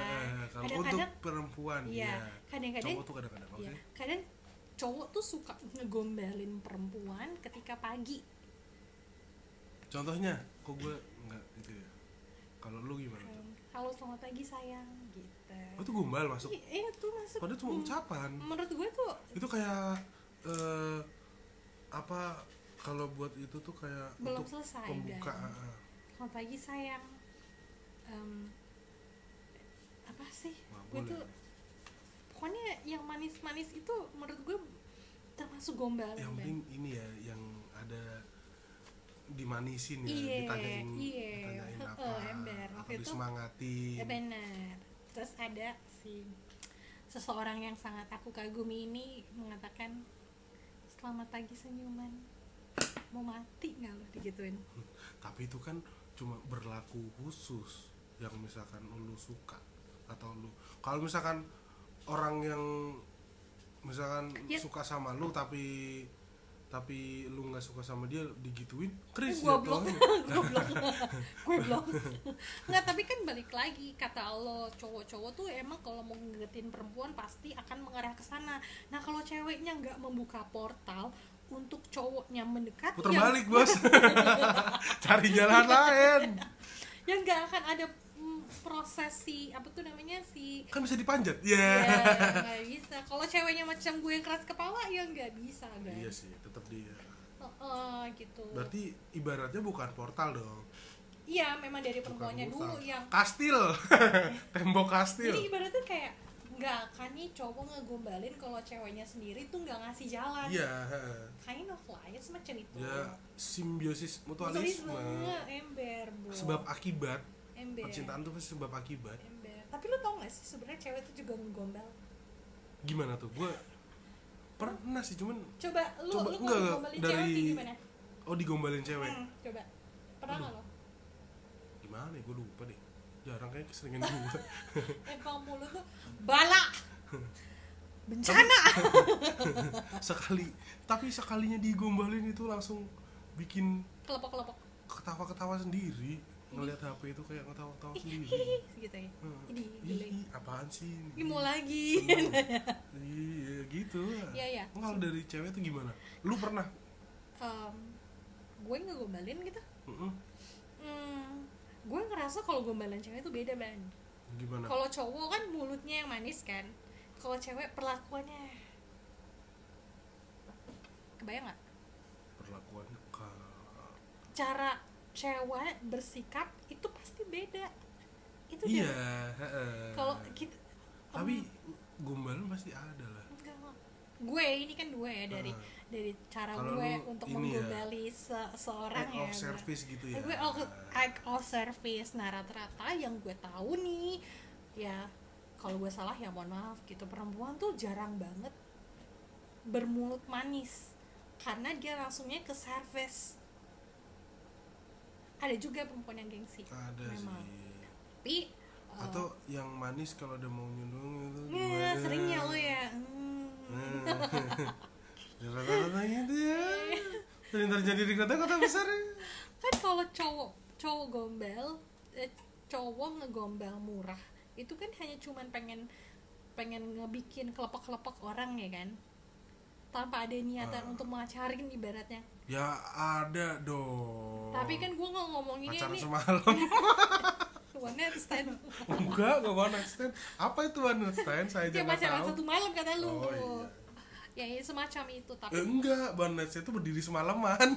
Speaker 2: kalau
Speaker 1: Kadang-kadang-
Speaker 2: untuk perempuan
Speaker 1: Iya,
Speaker 2: iya
Speaker 1: kadang-kadang-
Speaker 2: cowok tuh kadang-kadang oke
Speaker 1: ya kadang cowok tuh suka ngegombalin perempuan ketika pagi
Speaker 2: Contohnya, kok gue nggak gitu ya? Kalau lu gimana tuh?
Speaker 1: Em, halo selamat pagi sayang gitu
Speaker 2: Oh, itu gombal masuk.
Speaker 1: Ih, eh, itu masuk
Speaker 2: Padahal cuma ucapan.
Speaker 1: menurut gue tuh
Speaker 2: Itu kayak eh apa kalau buat itu tuh kayak
Speaker 1: Belum
Speaker 2: untuk ah,
Speaker 1: selesai,
Speaker 2: pembuka.
Speaker 1: Dan.
Speaker 2: ah, ah.
Speaker 1: Selamat pagi sayang. Em, apa sih
Speaker 2: Wah,
Speaker 1: gue
Speaker 2: boleh.
Speaker 1: tuh pokoknya yang manis-manis itu menurut gue termasuk gombalan
Speaker 2: yang
Speaker 1: Bang.
Speaker 2: penting ini ya yang ada dimanisin ya
Speaker 1: Iya,
Speaker 2: ditanyain
Speaker 1: iya.
Speaker 2: ditanyain
Speaker 1: Heeh,
Speaker 2: apa
Speaker 1: ember.
Speaker 2: apa
Speaker 1: Waktu itu-
Speaker 2: disemangatin
Speaker 1: Ya, benar. Terus ada si seseorang yang sangat aku kagumi ini mengatakan selamat pagi senyuman mau mati nggak lo digituin
Speaker 2: tapi itu kan cuma berlaku khusus yang misalkan lu suka atau lu kalau misalkan orang yang misalkan
Speaker 1: Ya.
Speaker 2: suka sama lu tapi tapi lu nggak suka sama dia digituin Chris
Speaker 1: gua
Speaker 2: ya
Speaker 1: blok
Speaker 2: Tuhan.
Speaker 1: gue blok gue blok nggak tapi kan balik lagi kata Allah cowok-cowok tuh emang kalau mau ngedeketin perempuan pasti akan mengarah ke sana nah kalau ceweknya nggak membuka portal untuk cowoknya mendekat
Speaker 2: puter
Speaker 1: ya-
Speaker 2: balik bos cari jalan lain
Speaker 1: yang nggak akan ada mm, proses si apa tuh namanya si
Speaker 2: kan bisa dipanjat ya
Speaker 1: ya nggak bisa kalau ceweknya macam gue yang keras kepala ya nggak bisa kan
Speaker 2: iya sih tetap dia
Speaker 1: Heeh, gitu
Speaker 2: berarti ibaratnya bukan portal dong
Speaker 1: iya memang dari
Speaker 2: bukan
Speaker 1: perempuannya
Speaker 2: portal
Speaker 1: dulu yang
Speaker 2: kastil tembok kastil
Speaker 1: jadi ibaratnya kayak nggak akan nih cowok ngegombalin kalau ceweknya sendiri tuh nggak ngasih jalan
Speaker 2: iya heeh.
Speaker 1: kind of lah ya semacam itu
Speaker 2: ya simbiosis
Speaker 1: Mutualisme, iya.
Speaker 2: mutualisme
Speaker 1: ember bro
Speaker 2: sebab akibat
Speaker 1: ember
Speaker 2: percintaan tuh pasti sebab akibat
Speaker 1: ember tapi lu tau gak sih sebenarnya cewek tuh juga ngegombal
Speaker 2: gimana tuh gue pernah sih cuman
Speaker 1: coba lu
Speaker 2: Coba,
Speaker 1: lu
Speaker 2: enggak,
Speaker 1: kalau ngegombalin
Speaker 2: dari-
Speaker 1: cewek kayak gimana
Speaker 2: oh digombalin cewek
Speaker 1: Hmm, coba pernah nggak lo
Speaker 2: gimana ya gue lupa deh jarang kayak keseringan gue
Speaker 1: emang mulut tuh bala bencana
Speaker 2: sekali tapi sekalinya digombalin itu langsung bikin
Speaker 1: kelepok kelepok
Speaker 2: ketawa-ketawa sendiri ngelihat HP itu kayak ketawa-ketawa sendiri
Speaker 1: hihihi gitu ya
Speaker 2: Heeh.
Speaker 1: ini gile
Speaker 2: Ih, apaan sih ini?
Speaker 1: ini mau lagi
Speaker 2: iya gitu lah.
Speaker 1: Iya, iya.
Speaker 2: Emang kalau dari cewek tuh gimana lu pernah
Speaker 1: Em, gue nggak gombalin gitu
Speaker 2: Mm-mm.
Speaker 1: hmm, gue ngerasa kalau gombalan cewek itu beda ban
Speaker 2: gimana
Speaker 1: kalau cowok kan mulutnya yang manis kan kalau cewek perlakuannya kebayang nggak
Speaker 2: perlakuan ke
Speaker 1: cara cewek bersikap itu pasti beda itu
Speaker 2: iya
Speaker 1: dia
Speaker 2: heeh.
Speaker 1: kalau kita
Speaker 2: tapi gombalan pasti ada lah
Speaker 1: Enggak, Mak. gue ini kan gue ya dari
Speaker 2: Ah.
Speaker 1: dari cara
Speaker 2: Kalau
Speaker 1: gue
Speaker 2: lu
Speaker 1: untuk
Speaker 2: ini ya,
Speaker 1: menggombali se- seorang
Speaker 2: act
Speaker 1: ya
Speaker 2: of
Speaker 1: gue.
Speaker 2: service gitu ya
Speaker 1: gue all- act of service nah rata-rata yang gue tahu nih ya kalau gue salah ya mohon maaf gitu perempuan tuh jarang banget bermulut manis karena dia langsungnya ke service ada juga perempuan yang gengsi
Speaker 2: ada
Speaker 1: memang
Speaker 2: sih
Speaker 1: tapi eh,
Speaker 2: Ah, atau yang manis kalau ada mau nyundung
Speaker 1: ya,
Speaker 2: itu gimana?
Speaker 1: seringnya lo ya hmm.
Speaker 2: Nah, ya, rata-rata gitu ya sering terjadi di kota-kota besar ya.
Speaker 1: kan kalau cowok cowok gombel eh, cowok ngegombel murah itu kan hanya cuman pengen pengen ngebikin kelepek-kelepek orang ya kan tanpa ada niatan
Speaker 2: Ah.
Speaker 1: untuk mengacarin ibaratnya
Speaker 2: ya ada dong
Speaker 1: tapi kan gue nggak ngomonginnya
Speaker 2: Oh. pacaran
Speaker 1: ini
Speaker 2: semalam
Speaker 1: one night stand
Speaker 2: enggak enggak one night stand apa itu one night stand
Speaker 1: ya
Speaker 2: saya aja nggak
Speaker 1: pacaran
Speaker 2: tahu
Speaker 1: satu malam kata lu
Speaker 2: Oh, iya.
Speaker 1: ya, ya semacam itu tapi
Speaker 2: Eh, enggak one night stand itu berdiri semalaman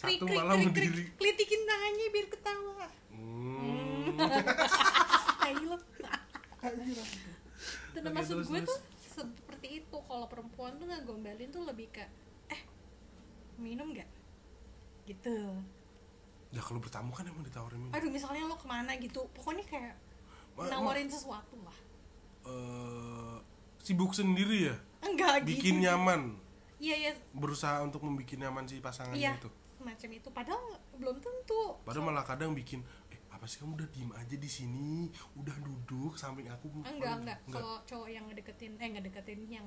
Speaker 1: krik
Speaker 2: satu
Speaker 1: krik
Speaker 2: malam
Speaker 1: krik krik
Speaker 2: berdiri
Speaker 1: kelitikin tangannya biar ketawa
Speaker 2: Hmm.
Speaker 1: tai lu Dan
Speaker 2: Oke,
Speaker 1: maksud
Speaker 2: terus,
Speaker 1: gue
Speaker 2: terus.
Speaker 1: tuh seperti itu kalau perempuan tuh ngegombalin tuh lebih ke eh minum gak gitu
Speaker 2: Ya kalau bertamu kan emang ditawarin minum.
Speaker 1: aduh misalnya lo kemana gitu pokoknya kayak
Speaker 2: Ma- ma-
Speaker 1: nawarin sesuatu lah
Speaker 2: Eh, sibuk sendiri ya,
Speaker 1: enggak gitu
Speaker 2: bikin nyaman,
Speaker 1: iya iya
Speaker 2: berusaha untuk membikin nyaman si pasangannya
Speaker 1: iya
Speaker 2: itu.
Speaker 1: semacam itu padahal belum tentu
Speaker 2: Padahal malah kadang bikin, eh apa sih kamu udah diem aja di sini, udah duduk samping aku.
Speaker 1: enggak enggak kalau cowok yang ngedeketin eh ngedeketin yang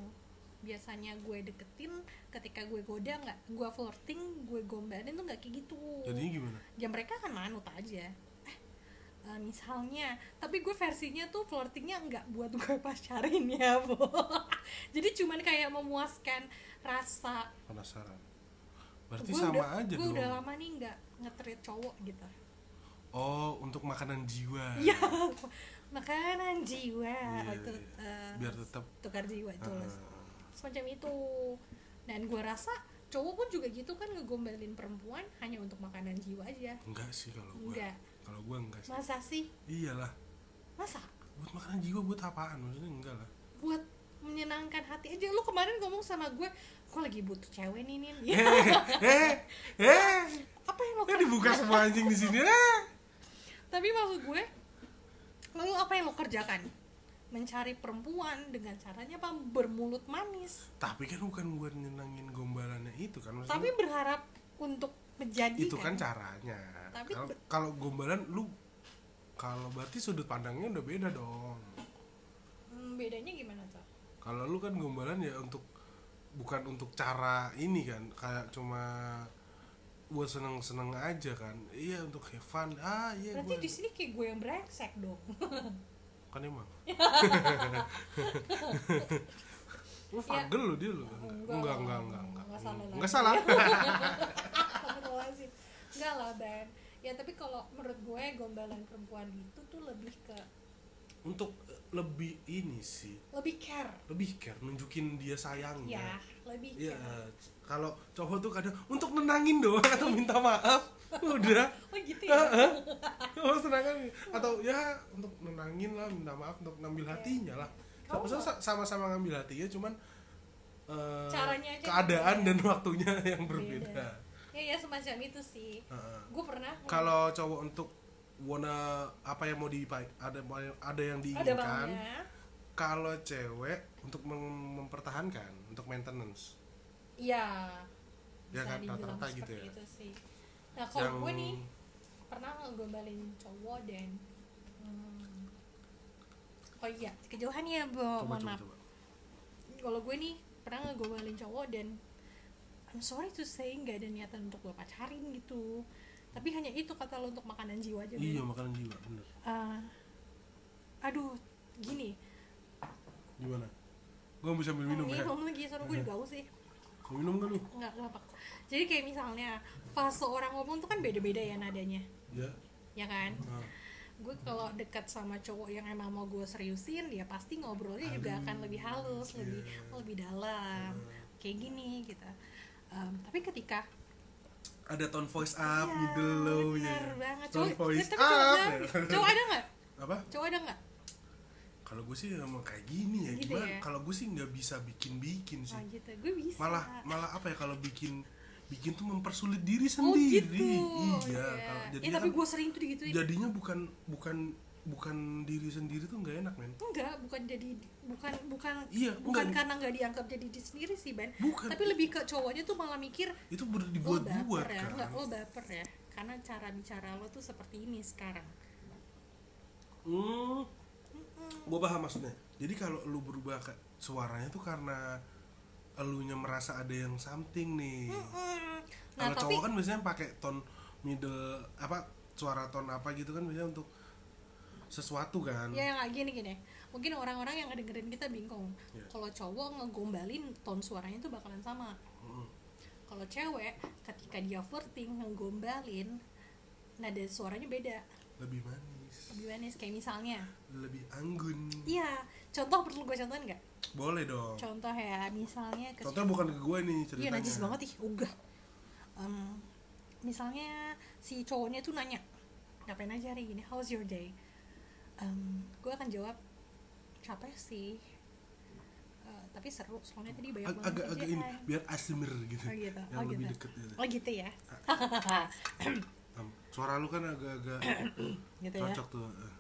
Speaker 1: biasanya gue deketin ketika gue goda nggak gue flirting gue gombalin tuh nggak kayak gitu
Speaker 2: Jadinya gimana?
Speaker 1: ya mereka akan manut aja Eh, eh, misalnya tapi gue versinya tuh flirtingnya nggak buat gue pacarin ya bu jadi cuman kayak memuaskan rasa
Speaker 2: Penasaran. Berarti
Speaker 1: gue
Speaker 2: sama
Speaker 1: udah
Speaker 2: aja
Speaker 1: gue
Speaker 2: dong. Nah.
Speaker 1: udah lama nih nggak ngetrit cowok gitu
Speaker 2: Oh, untuk makanan jiwa.
Speaker 1: ya makanan jiwa
Speaker 2: Iya,
Speaker 1: itu
Speaker 2: iya.
Speaker 1: eh,
Speaker 2: Biar tetap
Speaker 1: tukar jiwa jelas
Speaker 2: Ah.
Speaker 1: semacam itu dan gue rasa cowok pun juga gitu kan ngegombalin perempuan hanya untuk makanan jiwa aja
Speaker 2: enggak sih kalau gua.
Speaker 1: enggak
Speaker 2: Kalau gua enggak sih.
Speaker 1: masa sih
Speaker 2: Iyalah.
Speaker 1: masa
Speaker 2: buat makanan jiwa buat apaan maksudnya enggak lah
Speaker 1: buat menyenangkan hati aja lu kemarin ngomong sama gue gue lagi butuh cewek nih nih
Speaker 2: eh eh eh
Speaker 1: apa yang lo
Speaker 2: kan
Speaker 1: kerjain?
Speaker 2: dibuka semua anjing di sini eh
Speaker 1: tapi maksud gue lalu apa yang lo kerjakan mencari perempuan dengan caranya apa bermulut manis
Speaker 2: tapi kan bukan buat nyenangin gombalannya itu kan maksudnya
Speaker 1: tapi berharap untuk menjadi
Speaker 2: itu kan caranya
Speaker 1: Tapi
Speaker 2: kalau
Speaker 1: be-
Speaker 2: kalau gombalan lu kalau berarti sudut pandangnya udah beda dong
Speaker 1: Hmm, bedanya gimana tuh
Speaker 2: kalau lu kan gombalan ya untuk bukan untuk cara ini kan kayak cuma buat seneng seneng aja kan iya untuk have fun ah iya
Speaker 1: berarti
Speaker 2: gua-
Speaker 1: di sini kayak gue yang brengsek dong
Speaker 2: kan emang lu fagel lo dia lo enggak enggak enggak enggak
Speaker 1: Ya. Enggak salah lagi.
Speaker 2: enggak salah
Speaker 1: Astagfirullahaladzim. enggak lah Ben ya tapi kalau menurut gue gombalan perempuan itu tuh lebih ke
Speaker 2: untuk lebih ini sih
Speaker 1: lebih care
Speaker 2: lebih care nunjukin dia sayangnya
Speaker 1: ya lebih
Speaker 2: Iya,
Speaker 1: care
Speaker 2: kalau cowok tuh kadang untuk nenangin doang atau minta maaf udah.
Speaker 1: oh gitu ya
Speaker 2: Heeh. Kalau sedangkan atau ya untuk nenangin lah, minta maaf untuk ngambil
Speaker 1: Iya.
Speaker 2: hatinya lah.
Speaker 1: Kamu
Speaker 2: Maksudnya sa- sama-sama ngambil hatinya cuman eh,
Speaker 1: Caranya aja
Speaker 2: keadaan
Speaker 1: berbeda.
Speaker 2: dan waktunya yang berbeda.
Speaker 1: Beda. ya ya semacam itu sih
Speaker 2: Heeh.
Speaker 1: gue pernah
Speaker 2: Kalau cowok untuk wanna apa yang mau dipakai ada ada yang
Speaker 1: ada
Speaker 2: diinginkan.
Speaker 1: bangnya
Speaker 2: Kalau cewek untuk mem- mempertahankan, untuk maintenance.
Speaker 1: Iya.
Speaker 2: Ya
Speaker 1: bisa
Speaker 2: kan,
Speaker 1: dibilang
Speaker 2: rata-rata gitu
Speaker 1: seperti
Speaker 2: ya.
Speaker 1: Itu sih. Nah, kalau
Speaker 2: Yang-
Speaker 1: gue nih pernah ngegombalin cowok dan hmm, Oh iya, kejauhan ya, Bo.
Speaker 2: Coba
Speaker 1: Mohon
Speaker 2: coba
Speaker 1: maaf.
Speaker 2: coba.
Speaker 1: Kalau gue nih pernah ngegombalin cowok dan I'm sorry to say nggak ada niatan untuk gue pacarin gitu. Tapi hanya itu kata lo untuk makanan jiwa aja.
Speaker 2: Iya,
Speaker 1: Ben.
Speaker 2: makanan jiwa, bener.
Speaker 1: Eh, aduh, gini.
Speaker 2: Gimana? Gua bisa ambil minum ya.
Speaker 1: ngomong lagi, soalnya gue juga haus sih.
Speaker 2: Mau minum gak lu?
Speaker 1: Nggak, nggak apa. Jadi kayak misalnya fase orang ngomong tuh kan beda-beda ya nadanya.
Speaker 2: Ya.
Speaker 1: ya kan
Speaker 2: Nah,
Speaker 1: gue kalau dekat sama cowok yang emang mau gue seriusin dia pasti ngobrolnya juga
Speaker 2: Halus.
Speaker 1: akan lebih halus lebih
Speaker 2: Iya.
Speaker 1: lebih dalam kayak gini gitu Em, tapi ketika
Speaker 2: ada tone voice up, middle
Speaker 1: Iya,
Speaker 2: low ya.
Speaker 1: bener banget
Speaker 2: Tone
Speaker 1: cowok
Speaker 2: voice
Speaker 1: tapi
Speaker 2: up.
Speaker 1: cowok,
Speaker 2: ya.
Speaker 1: cowok ada nggak
Speaker 2: Apa?
Speaker 1: cowok ada nggak
Speaker 2: Kalau gue sih emang kayak gini ya,
Speaker 1: Gitu
Speaker 2: gimana?
Speaker 1: ya?
Speaker 2: Kalau gue sih nggak bisa bikin-bikin sih.
Speaker 1: oh, gitu gue bisa
Speaker 2: Malah malah apa ya kalau bikin bikin tuh mempersulit diri
Speaker 1: oh
Speaker 2: sendiri.
Speaker 1: gitu
Speaker 2: Iya,
Speaker 1: Iya.
Speaker 2: kalau
Speaker 1: ya
Speaker 2: jadinya
Speaker 1: tapi
Speaker 2: kan-
Speaker 1: gue sering tuh digituin
Speaker 2: jadinya bukan bukan bukan diri sendiri tuh nggak enak, men.
Speaker 1: enggak bukan jadi bukan bukan
Speaker 2: Iya,
Speaker 1: bukan
Speaker 2: enggak.
Speaker 1: karena nggak dianggap jadi diri sendiri sih ben
Speaker 2: Bukan.
Speaker 1: tapi lebih ke cowoknya tuh malah mikir
Speaker 2: Itu
Speaker 1: lo
Speaker 2: dibuat buat
Speaker 1: baper ya
Speaker 2: kan.
Speaker 1: enggak lo baper ya karena cara bicara lo tuh seperti ini sekarang
Speaker 2: Hmm. Gue paham maksudnya. Jadi kalau lu berubah ke suaranya tuh karena elunya merasa ada yang something nih.
Speaker 1: Mm. nah
Speaker 2: kalau
Speaker 1: tapi
Speaker 2: cowok kan biasanya pakai tone middle apa suara tone apa gitu kan biasanya untuk sesuatu kan.
Speaker 1: ya yang kayak gini gini mungkin orang-orang yang dengerin kita bingung
Speaker 2: Iya.
Speaker 1: kalau cowok ngegombalin ton suaranya tuh bakalan sama
Speaker 2: Mm.
Speaker 1: kalau cewek ketika dia flirting ngegombalin nada suaranya beda
Speaker 2: Lebih manis,
Speaker 1: lebih manis kayak misalnya
Speaker 2: lebih anggun.
Speaker 1: iya contoh perlu gue contohin nggak
Speaker 2: Boleh dong.
Speaker 1: contoh ya misalnya ke
Speaker 2: Contohnya bukan ke gue nih
Speaker 1: Iya
Speaker 2: ceritanya.
Speaker 1: najis banget ih, ogah. Em, misalnya si cowoknya tuh nanya, ngapain aja hari gini? How's your day? Em, gue akan jawab capek sih, Eh, tapi seru. Soalnya tadi banyak
Speaker 2: Ag-
Speaker 1: banget
Speaker 2: agak agak ini
Speaker 1: kerjaan."
Speaker 2: biar asmer gitu.
Speaker 1: Oh gitu,
Speaker 2: Yang
Speaker 1: oh
Speaker 2: lebih
Speaker 1: gitu.
Speaker 2: deket gitu.
Speaker 1: Oh gitu ya,
Speaker 2: Am, Suara lu kan agak-agak
Speaker 1: gitu ya.
Speaker 2: cocok tuh. Eh,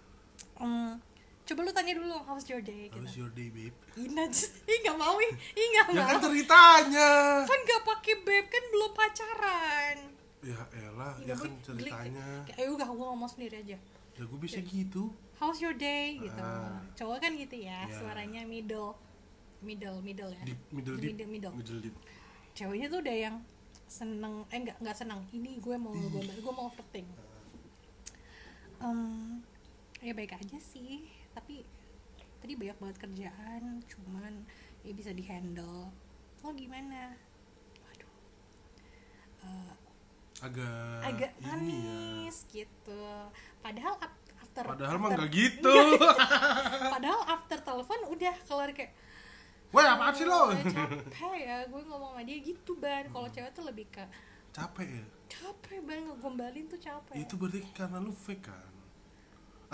Speaker 1: Em, coba lu tanya dulu how's your day?
Speaker 2: How's
Speaker 1: Gitu.
Speaker 2: your day, babe?
Speaker 1: Ih najis, ih nggak mau ih, ih nggak
Speaker 2: Ya kan
Speaker 1: mau.
Speaker 2: ceritanya.
Speaker 1: Kan nggak pakai beb, kan belum pacaran.
Speaker 2: Ya elah,
Speaker 1: Ih,
Speaker 2: ya
Speaker 1: nggak
Speaker 2: kan
Speaker 1: mau, Iya, geli.
Speaker 2: ceritanya.
Speaker 1: Kayak, "Ayo, udah gue ngomong sendiri aja.
Speaker 2: Ya gue bisa gitu.
Speaker 1: how's your day gitu
Speaker 2: Ah.
Speaker 1: cowok kan gitu ya
Speaker 2: Ya.
Speaker 1: suaranya middle middle middle ya
Speaker 2: Deep, middle deep.
Speaker 1: middle, middle.
Speaker 2: Middle deep.
Speaker 1: ceweknya tuh udah yang seneng eh nggak nggak seneng ini gue mau
Speaker 2: Ih.
Speaker 1: gue gue mau flirting Em, ya baik aja sih tapi tadi banyak banget kerjaan cuman ya bisa dihandle lo gimana waduh Eh,
Speaker 2: Agak
Speaker 1: agak
Speaker 2: Ah, ini ya.
Speaker 1: manis gitu padahal ap- after
Speaker 2: Padahal mah
Speaker 1: after-
Speaker 2: nggak gitu.
Speaker 1: padahal after telepon udah kelar kayak
Speaker 2: Wah, apaan sih lo? Hmm.
Speaker 1: "Eh, capek ya gue ngomong sama dia gitu ban kalau cewek tuh lebih ke
Speaker 2: Capek ya.
Speaker 1: capek ban ngegombalin tuh capek
Speaker 2: Itu berarti karena lu fake kan?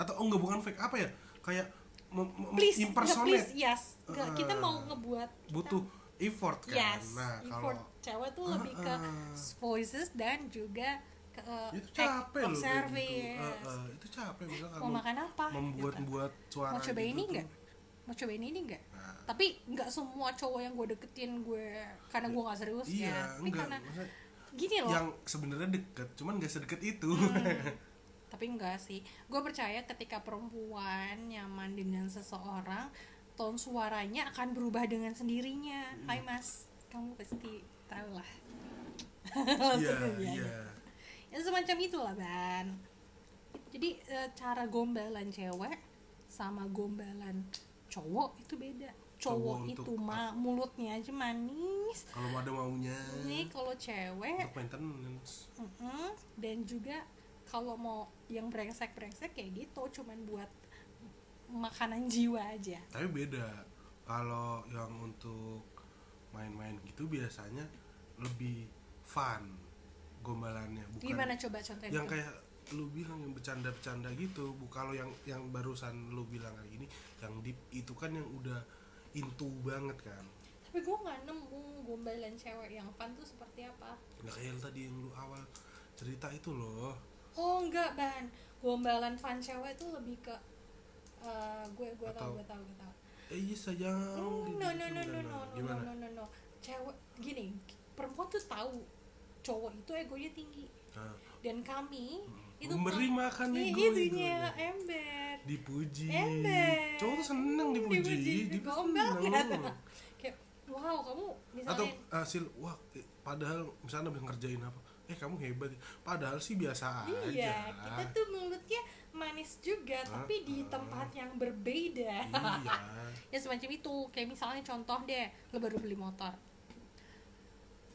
Speaker 2: Atau oh enggak bukan fake apa ya? kayak mem- mem-
Speaker 1: please nggak please
Speaker 2: impersonate
Speaker 1: yes Nggak, kita
Speaker 2: Ah.
Speaker 1: mau ngebuat kita-
Speaker 2: butuh effort kan
Speaker 1: yes
Speaker 2: nah kalau
Speaker 1: effort cewek tuh lebih ke
Speaker 2: Ah, ah.
Speaker 1: voices dan juga ke uh,
Speaker 2: itu
Speaker 1: act
Speaker 2: capek
Speaker 1: of
Speaker 2: loh kayak gitu.
Speaker 1: service
Speaker 2: Eh, eh, itu capek misalkan
Speaker 1: mau
Speaker 2: mem-
Speaker 1: makan apa
Speaker 2: membuat
Speaker 1: Gitu.
Speaker 2: buat suara
Speaker 1: mau coba
Speaker 2: gitu
Speaker 1: ini
Speaker 2: tuh.
Speaker 1: enggak mau coba ini ini enggak
Speaker 2: Nah.
Speaker 1: tapi nggak semua cowok yang gue deketin gue karena gue nggak serius
Speaker 2: iya
Speaker 1: ya tapi
Speaker 2: enggak
Speaker 1: karena
Speaker 2: maksudnya
Speaker 1: gini loh
Speaker 2: yang sebenarnya deket cuman gak sedekat itu
Speaker 1: Hmm. tapi enggak sih gue percaya ketika perempuan nyaman dengan seseorang tone suaranya akan berubah dengan sendirinya
Speaker 2: Hmm.
Speaker 1: hai mas kamu pasti tahu lah
Speaker 2: iya
Speaker 1: Langsung dia.
Speaker 2: iya
Speaker 1: ya semacam itulah ban jadi eh, cara gombalan cewek sama gombalan cowok itu beda cowok,
Speaker 2: Cowok
Speaker 1: itu
Speaker 2: untuk-
Speaker 1: ma mulutnya aja manis
Speaker 2: kalau ada maunya
Speaker 1: ini kalau cewek
Speaker 2: untuk maintenance
Speaker 1: Mm-mm. dan juga kalau mau yang brengsek brengsek kayak gitu cuman buat makanan jiwa aja
Speaker 2: tapi beda kalau yang untuk main-main gitu biasanya lebih fun gombalannya bukan
Speaker 1: gimana coba contohnya
Speaker 2: yang
Speaker 1: tuh?
Speaker 2: kayak lu bilang yang bercanda-bercanda gitu bu kalau yang yang barusan lu bilang kayak gini yang deep itu kan yang udah intu banget kan
Speaker 1: tapi gue nggak nemu gombalan cewek yang fun tuh seperti apa
Speaker 2: nggak kayak yang tadi yang lu awal cerita itu loh
Speaker 1: oh enggak ban gombalan fun cewek tuh lebih ke eh, gue gue tau
Speaker 2: Atau-
Speaker 1: gue tau gue tau
Speaker 2: eh iya sayang
Speaker 1: Mm, no
Speaker 2: gitu,
Speaker 1: no no no no
Speaker 2: gitu, gimana?
Speaker 1: no no
Speaker 2: gimana
Speaker 1: no no no cewek gini perempuan tuh tahu cowok itu egonya tinggi
Speaker 2: Nah,
Speaker 1: dan kami itu
Speaker 2: memberi makan
Speaker 1: Ih,
Speaker 2: ego itu
Speaker 1: itunya ember
Speaker 2: dipuji
Speaker 1: Ember.
Speaker 2: cowok tuh seneng dipuji
Speaker 1: Dipuji.
Speaker 2: dipuji
Speaker 1: Gombel
Speaker 2: seneng.
Speaker 1: kan? kayak wow kamu misalnya
Speaker 2: atau hasil wah eh, padahal misalnya habis ngerjain apa eh kamu hebat ya." padahal sih biasa
Speaker 1: iya
Speaker 2: aja
Speaker 1: kita tuh mulutnya manis juga tapi di
Speaker 2: Ah, ah.
Speaker 1: tempat yang berbeda
Speaker 2: iya
Speaker 1: ya semacam itu kayak misalnya contoh deh lo baru beli motor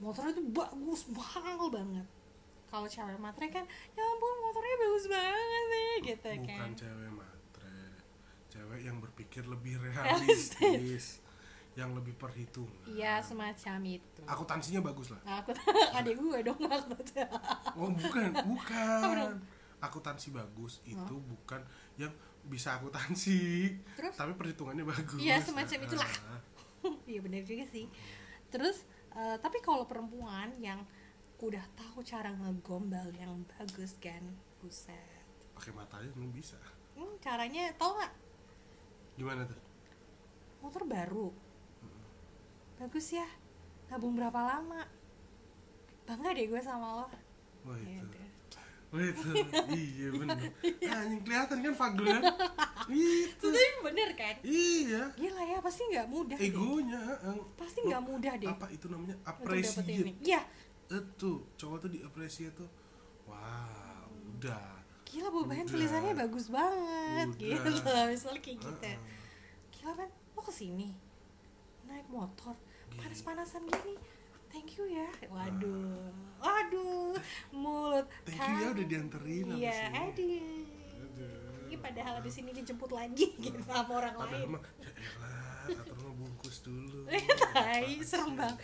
Speaker 1: motornya tuh bagus mahal banget kalau cewek matre kan ya ampun motornya bagus banget nih gitu
Speaker 2: bukan
Speaker 1: kan
Speaker 2: cewek matre cewek yang berpikir lebih realistis yang lebih perhitungan
Speaker 1: iya semacam itu
Speaker 2: akuntansinya bagus lah
Speaker 1: aku ada gue dong aku
Speaker 2: oh bukan
Speaker 1: dong? Oh.
Speaker 2: bukan akuntansi bagus itu bukan yang bisa akuntansi
Speaker 1: Terus?
Speaker 2: tapi perhitungannya bagus
Speaker 1: Iya, semacam
Speaker 2: Nah,
Speaker 1: itulah. iya bener juga sih terus eh, tapi kalau perempuan yang udah tahu cara ngegombal yang bagus kan buset
Speaker 2: pakai matanya belum bisa
Speaker 1: hmm, caranya tau nggak
Speaker 2: gimana tuh
Speaker 1: motor baru
Speaker 2: Hmm.
Speaker 1: bagus ya nabung berapa lama bangga deh gue sama lo
Speaker 2: wah
Speaker 1: Ya
Speaker 2: Oh,
Speaker 1: udah.
Speaker 2: itu wah itu iya bener anjing kelihatan kan fagulnya itu
Speaker 1: tapi bener kan
Speaker 2: iya
Speaker 1: gila ya pasti nggak mudah deh.
Speaker 2: egonya heeh.
Speaker 1: pasti nggak mudah deh
Speaker 2: apa itu namanya
Speaker 1: untuk dapetin ini.
Speaker 2: appreciate
Speaker 1: iya
Speaker 2: Eh, tuh cowok tuh diapresiasi tuh wah udah
Speaker 1: gila bobahan
Speaker 2: Udah.
Speaker 1: tulisannya bagus banget
Speaker 2: Udah.
Speaker 1: gitu misalnya kayak gitu
Speaker 2: Heeh.
Speaker 1: gila kan lo kesini naik motor
Speaker 2: Gini.
Speaker 1: panas-panasan gini thank you ya waduh waduh mulut
Speaker 2: Ah.
Speaker 1: kan?
Speaker 2: thank you ya udah dianterin abis
Speaker 1: iya
Speaker 2: ini.
Speaker 1: aduh
Speaker 2: Aduh.
Speaker 1: ini padahal habis ini dijemput lagi gitu sama orang
Speaker 2: padahal
Speaker 1: lain
Speaker 2: mah ya elah atur mah bungkus dulu
Speaker 1: Hai, serem banget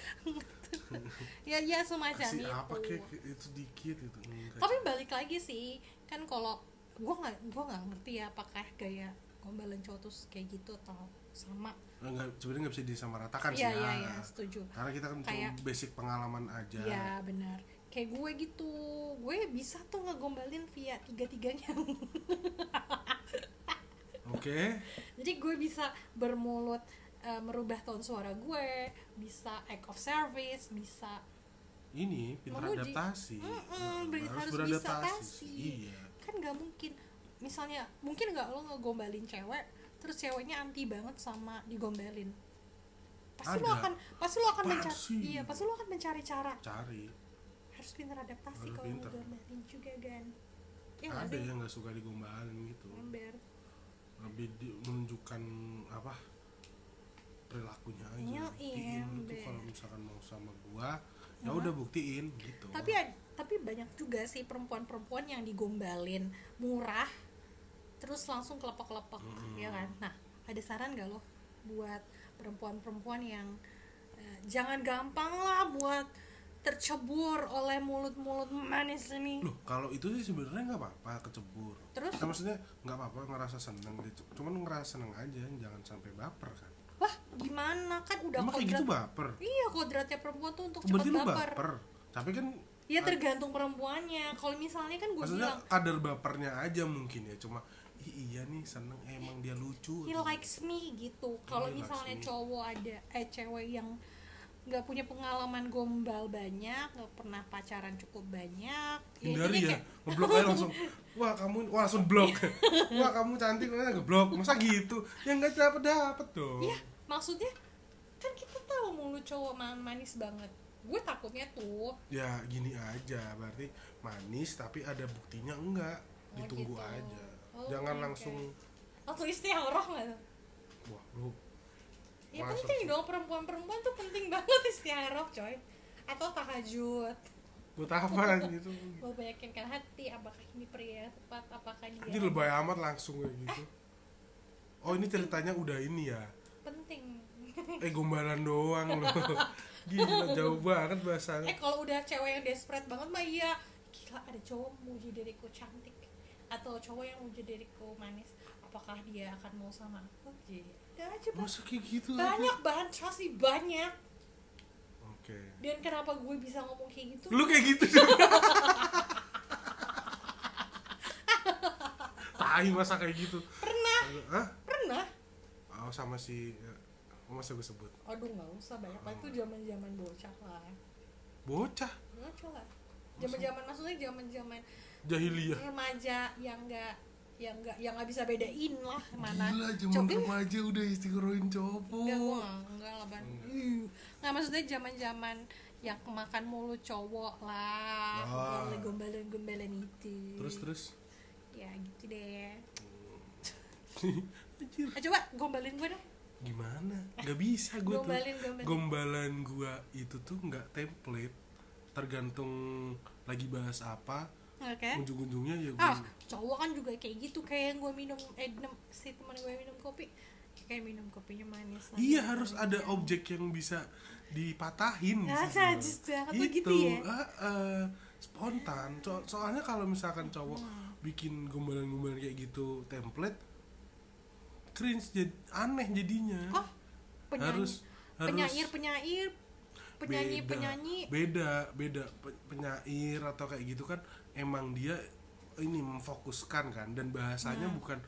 Speaker 1: ya ya semacam
Speaker 2: kasih
Speaker 1: itu
Speaker 2: apa kek itu dikit gitu. itu Enggak.
Speaker 1: tapi balik lagi sih kan kalau gue nggak gue nggak ngerti ya apakah gaya gombalan cowok tuh kayak gitu atau sama
Speaker 2: nggak sebenarnya nggak bisa disamaratakan
Speaker 1: iya
Speaker 2: sih ya.
Speaker 1: iya iya setuju
Speaker 2: karena kita kan
Speaker 1: Kayak-
Speaker 2: cuma basic pengalaman aja
Speaker 1: Iya benar. Kayak gue gitu, gue bisa tuh ngegombalin via tiga tiganya.
Speaker 2: oke
Speaker 1: Jadi gue bisa bermulut eh, merubah tone suara gue, bisa act of service, bisa
Speaker 2: ini pintar
Speaker 1: Memuji.
Speaker 2: adaptasi
Speaker 1: Mm-mm, ber- harus bisa adaptasi.
Speaker 2: iya
Speaker 1: kan nggak mungkin. Misalnya mungkin nggak lo ngegombalin cewek, terus ceweknya anti banget sama digombalin. Pasti lo
Speaker 2: Ada.
Speaker 1: akan, pasti lo akan mencari,
Speaker 2: Pasti.
Speaker 1: iya pasti lo akan mencari cara.
Speaker 2: cari
Speaker 1: Harus pintar adaptasi
Speaker 2: Harus
Speaker 1: kalau
Speaker 2: pintar.
Speaker 1: ngegombalin juga kan. Ya nggak
Speaker 2: ada
Speaker 1: sih? Mm.
Speaker 2: yang nggak suka digombalin gitu
Speaker 1: Ember.
Speaker 2: lebih di- menunjukkan apa perilakunya aja
Speaker 1: Iya,
Speaker 2: buktiin
Speaker 1: iya,
Speaker 2: itu
Speaker 1: Mbak.
Speaker 2: kalau misalkan mau sama gua ya udah buktiin gitu
Speaker 1: Iya. tapi ya- ad- tapi banyak juga sih perempuan-perempuan yang digombalin murah terus langsung kelepek-kelepek ya kan nah ada saran gak lo buat perempuan-perempuan yang eh, jangan gampang lah buat tercebur oleh mulut-mulut manis ini
Speaker 2: loh kalau itu sih sebenarnya nggak apa-apa kecebur
Speaker 1: Terus?
Speaker 2: Nah, maksudnya nggak apa-apa ngerasa seneng gitu cuman ngerasa seneng aja jangan sampai baper kan
Speaker 1: wah gimana kan udah
Speaker 2: emang kayak
Speaker 1: kodrat-
Speaker 2: gitu baper
Speaker 1: iya kodratnya perempuan tuh untuk cepat
Speaker 2: berarti lu
Speaker 1: baper.
Speaker 2: baper tapi kan
Speaker 1: ya
Speaker 2: ad-
Speaker 1: tergantung perempuannya kalau misalnya kan gue
Speaker 2: maksudnya
Speaker 1: bilang
Speaker 2: kadar bapernya aja mungkin ya cuma "Ih, iya nih seneng emang dia lucu
Speaker 1: he likes me gitu kalau
Speaker 2: He likes
Speaker 1: misalnya
Speaker 2: me.
Speaker 1: cowok ada eh cewek yang nggak punya pengalaman gombal banyak nggak pernah pacaran cukup banyak
Speaker 2: hindari
Speaker 1: intinya
Speaker 2: ya
Speaker 1: kayak,
Speaker 2: ngeblok aja langsung wah kamu wah langsung blok wah kamu cantik mana ngeblok masa gitu ya nggak dapet dapet dong
Speaker 1: ya maksudnya kan kita tahu mulu cowok man- manis banget gue takutnya tuh
Speaker 2: ya gini aja berarti manis tapi ada buktinya enggak
Speaker 1: Oh,
Speaker 2: ditunggu
Speaker 1: gitu.
Speaker 2: aja
Speaker 1: Oh,
Speaker 2: jangan
Speaker 1: oke,
Speaker 2: langsung
Speaker 1: atau istihoroh nggak tuh
Speaker 2: wah lu
Speaker 1: ya
Speaker 2: Masuk
Speaker 1: penting
Speaker 2: sih.
Speaker 1: dong perempuan-perempuan tuh penting banget istihoroh coy atau tahajud
Speaker 2: buat apa gitu
Speaker 1: mau meyakinkan hati apakah ini pria yang tepat apakah dia
Speaker 2: jadi lebay amat langsung kayak gitu
Speaker 1: Eh.
Speaker 2: oh ini ceritanya udah ini ya
Speaker 1: penting
Speaker 2: eh gombalan doang loh gila jauh banget bahasanya
Speaker 1: eh kalau udah cewek yang desperate banget mah iya gila ada cowok muji diriku cantik atau cowok yang muji diriku manis apakah dia akan mau sama aku Gitu aja Bang.
Speaker 2: masa kayak gitu aja?
Speaker 1: banyak bahan trust nih, banyak
Speaker 2: oke
Speaker 1: dan kenapa gue bisa ngomong kayak gitu
Speaker 2: lu kayak gitu juga tai masa kayak gitu
Speaker 1: pernah
Speaker 2: Hah?
Speaker 1: pernah
Speaker 2: oh sama si oh, masa gue sebut
Speaker 1: aduh nggak usah banyak banget itu zaman zaman bocah lah
Speaker 2: bocah
Speaker 1: bocah lah zaman zaman maksudnya zaman zaman
Speaker 2: jahiliyah
Speaker 1: remaja yang nggak yang nggak yang nggak bisa bedain lah mana
Speaker 2: gila zaman
Speaker 1: Coba-
Speaker 2: remaja udah istiqoroin copo
Speaker 1: enggak gua nggak- enggak lah ban
Speaker 2: Iya.
Speaker 1: Ih. nggak maksudnya zaman zaman yang kemakan mulu cowok lah
Speaker 2: Ah.
Speaker 1: gombalan gombalan itu
Speaker 2: terus terus
Speaker 1: ya gitu deh
Speaker 2: Anjir.
Speaker 1: ah, coba gombalin gue dong
Speaker 2: gimana nggak bisa gue tuh
Speaker 1: Gombalin, gombalin.
Speaker 2: gombalan gue itu tuh nggak template tergantung lagi bahas apa
Speaker 1: oke
Speaker 2: ujung-ujungnya ya gue
Speaker 1: Eh? ah cowok kan juga kayak gitu kayak yang gue minum eh nem- si teman gue minum kopi kayak minum kopinya manis lah.
Speaker 2: Iya harus ada objek yang bisa dipatahin. di
Speaker 1: Ya,
Speaker 2: situ.
Speaker 1: sadis banget lo gitu ya.
Speaker 2: eh, eh, spontan. So- soalnya kalau misalkan cowok
Speaker 1: Hmm.
Speaker 2: bikin gombalan-gombalan kayak gitu template, cringe jadi aneh jadinya.
Speaker 1: oh penyanyi
Speaker 2: Harus- harus-
Speaker 1: penyair penyair penyanyi
Speaker 2: Beda.
Speaker 1: penyanyi
Speaker 2: Beda, beda Pe- penyair atau kayak gitu kan emang dia ini memfokuskan kan dan bahasanya
Speaker 1: Nah.
Speaker 2: bukan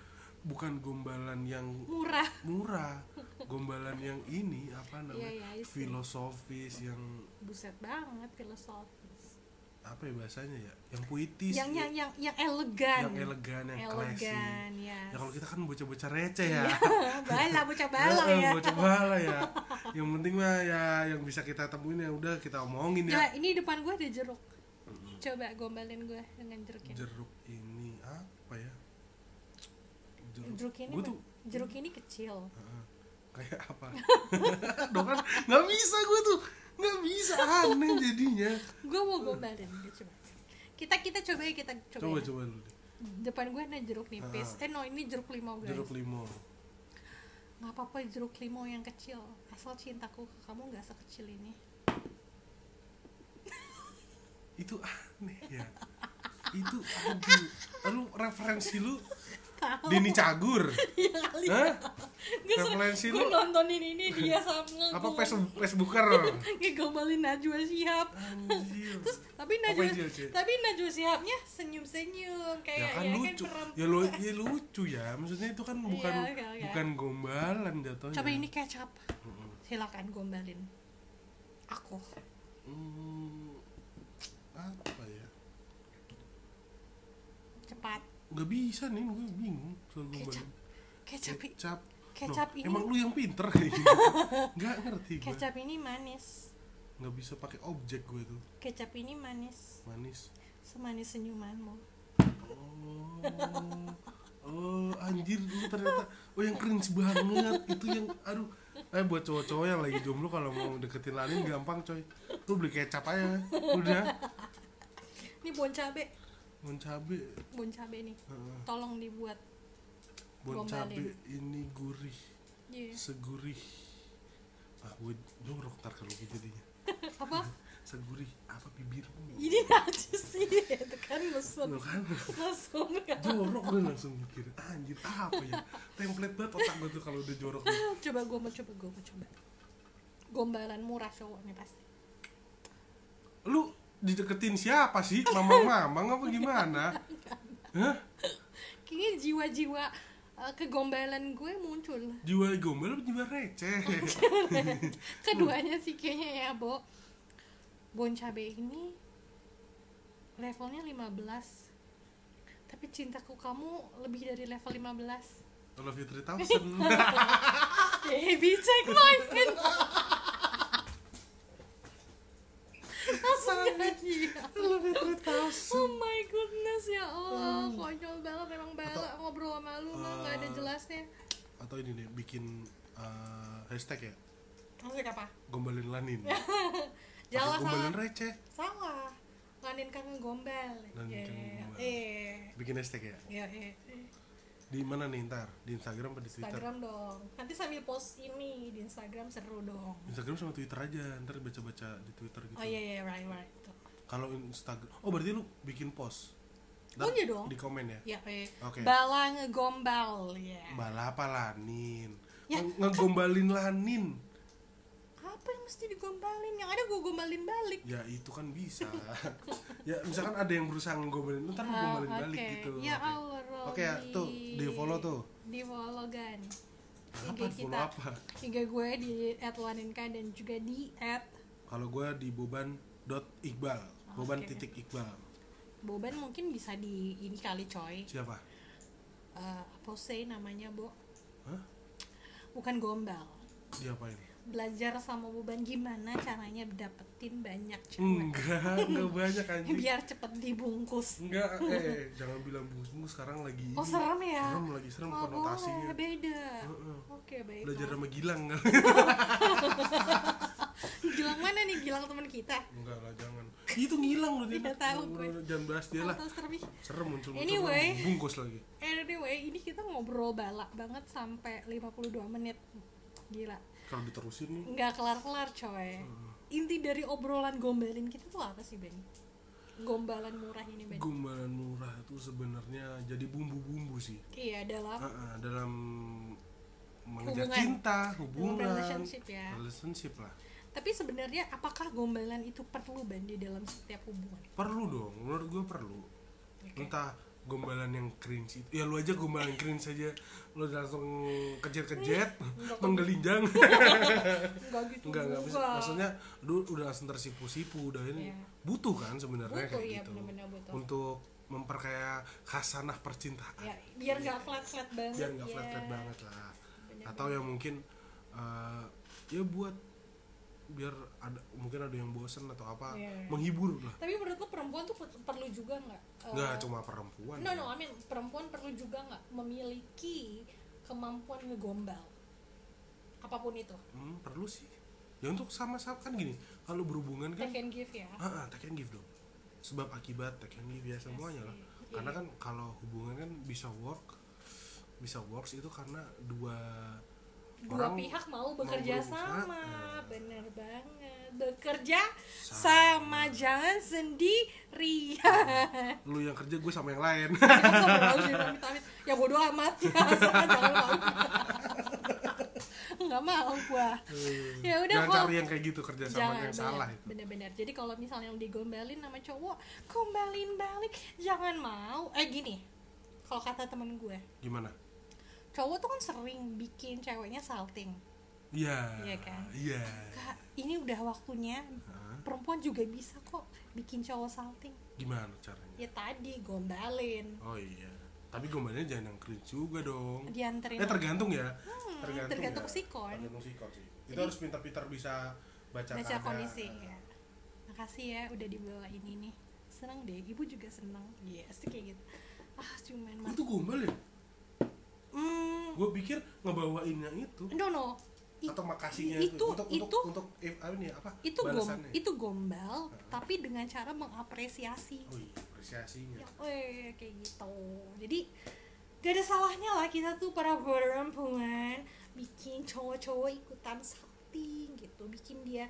Speaker 2: bukan gombalan yang
Speaker 1: murah
Speaker 2: murah gombalan yang ini apa namanya
Speaker 1: Iya, iya, I see.
Speaker 2: filosofis yang
Speaker 1: buset banget filosofis
Speaker 2: apa ya bahasanya ya yang puitis
Speaker 1: yang yang
Speaker 2: ya.
Speaker 1: yang yang elegan
Speaker 2: Yang elegan yang classy
Speaker 1: elegan ya
Speaker 2: ya kalau kita kan bocah-bocah receh ya
Speaker 1: bala bocah bala
Speaker 2: Eh, eh,
Speaker 1: ya
Speaker 2: bocah bala ya yang penting mah ya yang bisa kita temuin ya udah kita omongin
Speaker 1: coba
Speaker 2: ya
Speaker 1: ini depan gue ada jeruk coba gombalin gue dengan jeruknya
Speaker 2: jeruk ini apa ya
Speaker 1: jeruk ini
Speaker 2: gua
Speaker 1: mah-
Speaker 2: tuh
Speaker 1: jeruk ini kecil
Speaker 2: Heeh. kayak apa dong kan nggak bisa gue tuh nggak bisa aneh jadinya
Speaker 1: gue mau gombalin dia coba kita kita coba ya, kita coba,
Speaker 2: coba
Speaker 1: ya.
Speaker 2: coba dulu deh.
Speaker 1: depan gue ada jeruk nipis
Speaker 2: Ah.
Speaker 1: eh no ini jeruk limau guys
Speaker 2: jeruk limau
Speaker 1: nggak apa-apa jeruk limau yang kecil asal cintaku ke kamu nggak sekecil ini
Speaker 2: itu aneh ya itu aduh lu referensi lu Dini Cagur
Speaker 1: Iya kali ya.
Speaker 2: Hah?
Speaker 1: Gue se-
Speaker 2: Referensi
Speaker 1: gue
Speaker 2: lu-
Speaker 1: nontonin ini dia sama
Speaker 2: apa
Speaker 1: gue.
Speaker 2: face- Facebooker
Speaker 1: ngegombalin Najwa Shihab
Speaker 2: Anjir.
Speaker 1: terus tapi
Speaker 2: Apa
Speaker 1: Najwa
Speaker 2: itu, Ci?
Speaker 1: tapi Najwa Shihabnya senyum senyum
Speaker 2: ya
Speaker 1: kayak
Speaker 2: kan lucu
Speaker 1: perempuan.
Speaker 2: ya, lu, ya lucu ya maksudnya itu kan
Speaker 1: iya,
Speaker 2: bukan
Speaker 1: Iya, oke, oke.
Speaker 2: bukan gombalan jatuhnya
Speaker 1: coba ini kecap silakan gombalin aku
Speaker 2: Hmm, apa ya
Speaker 1: cepat
Speaker 2: nggak bisa nih gue bingung soal
Speaker 1: kecap
Speaker 2: gombalan
Speaker 1: kecap i-
Speaker 2: kecap
Speaker 1: kecap
Speaker 2: Eh,
Speaker 1: ini-
Speaker 2: Loh, emang lu yang pinter kayak gitu nggak ngerti gue
Speaker 1: kecap ini manis
Speaker 2: nggak bisa pakai objek gue tuh
Speaker 1: kecap ini manis
Speaker 2: manis
Speaker 1: semanis senyumanmu
Speaker 2: Oh, oh anjir lu ternyata oh yang cringe banget itu yang aduh eh buat cowok-cowok yang lagi jomblo kalau mau deketin Lalin gampang coy tuh beli kecap aja udah
Speaker 1: ini bon cabe
Speaker 2: bon cabe
Speaker 1: bon cabe nih
Speaker 2: Heeh.
Speaker 1: tolong dibuat
Speaker 2: bon
Speaker 1: Gombalin.
Speaker 2: cabe ini gurih
Speaker 1: Iya.
Speaker 2: segurih ah gue jorok ntar kalau gitu jadinya
Speaker 1: apa Iya,
Speaker 2: segurih apa bibirmu
Speaker 1: ini aja sih itu kan mesum
Speaker 2: lo kan
Speaker 1: mesum ya
Speaker 2: jorok gue langsung mikir anjir apa ya template banget otak gue tuh kalau udah jorok tuh.
Speaker 1: coba gue mau coba gue mau coba gombalan murah cowok nih pasti
Speaker 2: lu dideketin siapa sih mamang mamang apa gimana Hah?
Speaker 1: kayaknya jiwa-jiwa eh, kegombalan gue muncul
Speaker 2: jiwa gombel apa jiwa receh
Speaker 1: keduanya sih kayaknya ya bo bon cabe ini levelnya 15 tapi cintaku kamu lebih dari level 15
Speaker 2: I love you 3000
Speaker 1: baby take my hand Langsung gila. Oh my goodness ya Allah, konyol banget emang Bella ngobrol sama lu mah nggak ada
Speaker 2: Eh.
Speaker 1: jelasnya.
Speaker 2: atau ini deh bikin eh, hashtag ya
Speaker 1: Maksudnya apa?
Speaker 2: gombalin lanin
Speaker 1: Ya, Jalan salah.
Speaker 2: Atau gombalin receh
Speaker 1: salah nganin kangen gombal Iya.
Speaker 2: Nganin kangen
Speaker 1: Yeah.
Speaker 2: gombal.
Speaker 1: eh
Speaker 2: bikin hashtag ya
Speaker 1: ya eh eh.
Speaker 2: di mana nih ntar di Instagram apa di Twitter
Speaker 1: Instagram dong nanti sambil post ini di Instagram seru dong
Speaker 2: Instagram sama Twitter aja ntar baca-baca di Twitter gitu
Speaker 1: oh iya iya right right Tuh.
Speaker 2: kalau Instagram oh berarti lu bikin post
Speaker 1: Oh, iya dong.
Speaker 2: di komen ya
Speaker 1: ya eh
Speaker 2: Oke.
Speaker 1: bala ngegombal ya
Speaker 2: balapa lanin
Speaker 1: Ya,
Speaker 2: Nge- ngegombalin lanin
Speaker 1: apa yang mesti digombalin yang ada gue gombalin balik
Speaker 2: ya itu kan bisa ya misalkan ada yang berusaha ngegombalin ntar lu
Speaker 1: Ah,
Speaker 2: gombalin
Speaker 1: oke.
Speaker 2: balik gitu
Speaker 1: ya
Speaker 2: Oke.
Speaker 1: Allah Robi
Speaker 2: Oke, ya, tuh, di follow tuh.
Speaker 1: di follow gan
Speaker 2: apa follow apa
Speaker 1: IG gue di @laninka dan juga di
Speaker 2: kalau gue di boban dot iqbal
Speaker 1: Oh,
Speaker 2: boban
Speaker 1: Oke.
Speaker 2: titik iqbal
Speaker 1: @boban mungkin bisa di ini kali coy
Speaker 2: siapa
Speaker 1: Eh, apa sih namanya bo
Speaker 2: Hah?
Speaker 1: bukan gombal
Speaker 2: diapain
Speaker 1: belajar sama beban gimana caranya dapetin banyak cewek
Speaker 2: Hmm. enggak enggak banyak anjing
Speaker 1: biar cepet dibungkus
Speaker 2: enggak eh jangan bilang bungkus sekarang lagi
Speaker 1: oh
Speaker 2: ini.
Speaker 1: serem ya
Speaker 2: serem lagi serem
Speaker 1: oh,
Speaker 2: Hmm, konotasinya
Speaker 1: boleh, beda
Speaker 2: Heeh.
Speaker 1: oke baik
Speaker 2: belajar
Speaker 1: Maaf.
Speaker 2: sama Gilang kan
Speaker 1: gilang mana nih gilang teman kita
Speaker 2: enggak lah jangan itu ngilang loh
Speaker 1: Iya, tahu gue.
Speaker 2: jangan bahas dia lah
Speaker 1: Atau serem ih.
Speaker 2: serem muncul muncul
Speaker 1: Anyway.
Speaker 2: bungkus lagi
Speaker 1: anyway ini kita ngobrol balak banget sampai 52 menit gila
Speaker 2: kalau diterusin nih
Speaker 1: nggak kelar-kelar coy
Speaker 2: Hmm.
Speaker 1: inti dari obrolan gombalin kita tuh apa sih Ben? gombalan murah ini Ben
Speaker 2: gombalan murah itu sebenarnya jadi bumbu-bumbu sih
Speaker 1: iya dalam
Speaker 2: Ah, ah, dalam mengejar
Speaker 1: Hubungan.
Speaker 2: cinta hubungan
Speaker 1: uh, relationship ya.
Speaker 2: relationship lah
Speaker 1: Tapi sebenarnya apakah gombalan itu perlu ban di dalam setiap hubungan?
Speaker 2: perlu dong menurut gue perlu entah gombalan yang cringe itu ya lu aja gombalan cringe aja lu langsung kejet-kejet menggelinjang
Speaker 1: Enggak gitu.
Speaker 2: enggak enggak maksud-
Speaker 1: juga.
Speaker 2: maksudnya lu udah langsung tersipu-sipu udah ini
Speaker 1: Iya.
Speaker 2: butuh kan sebenarnya
Speaker 1: Butuh,
Speaker 2: kayak
Speaker 1: iya,
Speaker 2: gitu
Speaker 1: benar-benar butuh.
Speaker 2: untuk memperkaya khasanah percintaan
Speaker 1: ya biar nggak flat-flat banget.
Speaker 2: biar nggak
Speaker 1: ya.
Speaker 2: flat flat banget lah
Speaker 1: Bener-bener.
Speaker 2: atau yang mungkin eh, ya buat biar ada mungkin ada yang bosen atau apa
Speaker 1: Iya.
Speaker 2: menghibur lah
Speaker 1: Tapi menurut lo perempuan tuh per- perlu juga nggak? eh,
Speaker 2: nggak cuma perempuan
Speaker 1: No
Speaker 2: ya.
Speaker 1: no, I mean perempuan perlu juga nggak memiliki kemampuan ngegombal apapun itu.
Speaker 2: Hmm, perlu sih ya untuk sama-sama kan gini kalau berhubungan kan
Speaker 1: Take and give ya.
Speaker 2: ah, ah, take and give dong sebab akibat take and give ya semuanya lah
Speaker 1: Iya.
Speaker 2: karena kan kalau hubungan kan bisa work bisa works itu karena dua
Speaker 1: Dua
Speaker 2: orang
Speaker 1: pihak mau bekerja
Speaker 2: berusaha.
Speaker 1: sama,
Speaker 2: Nah.
Speaker 1: bener banget. Bekerja sama, jangan sendirian.
Speaker 2: lu yang kerja gue sama yang lain
Speaker 1: ya bodo amat ya Jangan, jangan mau nggak mau gua ya udah iya.
Speaker 2: Iya. jangan
Speaker 1: kalau-
Speaker 2: cari yang kayak gitu kerja sama yang
Speaker 1: bener,
Speaker 2: salah itu
Speaker 1: bener-bener jadi kalau misalnya digombalin sama cowok gombalin balik jangan mau eh gini kalau kata temen gue
Speaker 2: gimana
Speaker 1: cowok tuh kan sering bikin ceweknya salting
Speaker 2: iya
Speaker 1: Iya kan?
Speaker 2: iya
Speaker 1: Kak, ini udah waktunya
Speaker 2: Hah?
Speaker 1: perempuan juga bisa kok bikin cowok salting
Speaker 2: gimana caranya
Speaker 1: ya tadi gombalin
Speaker 2: oh iya tapi gombalnya jangan yang cringe juga dong
Speaker 1: dianterin
Speaker 2: eh tergantung ya
Speaker 1: Hmm, tergantung sikon.
Speaker 2: tergantung sikon sih itu harus pintar-pintar bisa baca,
Speaker 1: baca
Speaker 2: keadaan.
Speaker 1: kondisi ya. makasih ya udah dibawa ini nih senang deh ibu juga senang iya pasti kayak gitu ah cuman
Speaker 2: Oh,
Speaker 1: mas
Speaker 2: itu gombal ya
Speaker 1: hmm
Speaker 2: gue pikir ngebawainnya itu
Speaker 1: no no I-
Speaker 2: atau makasihnya
Speaker 1: itu-
Speaker 2: itu, untuk
Speaker 1: itu-
Speaker 2: untuk untuk eh, apa ini apa
Speaker 1: itu gom
Speaker 2: balasannya.
Speaker 1: itu gombal tapi dengan cara mengapresiasi
Speaker 2: oh iya apresiasinya
Speaker 1: ya eh kayak gitu jadi gak ada salahnya lah kita tuh para perempuan bikin cowok-cowok ikutan salting gitu bikin dia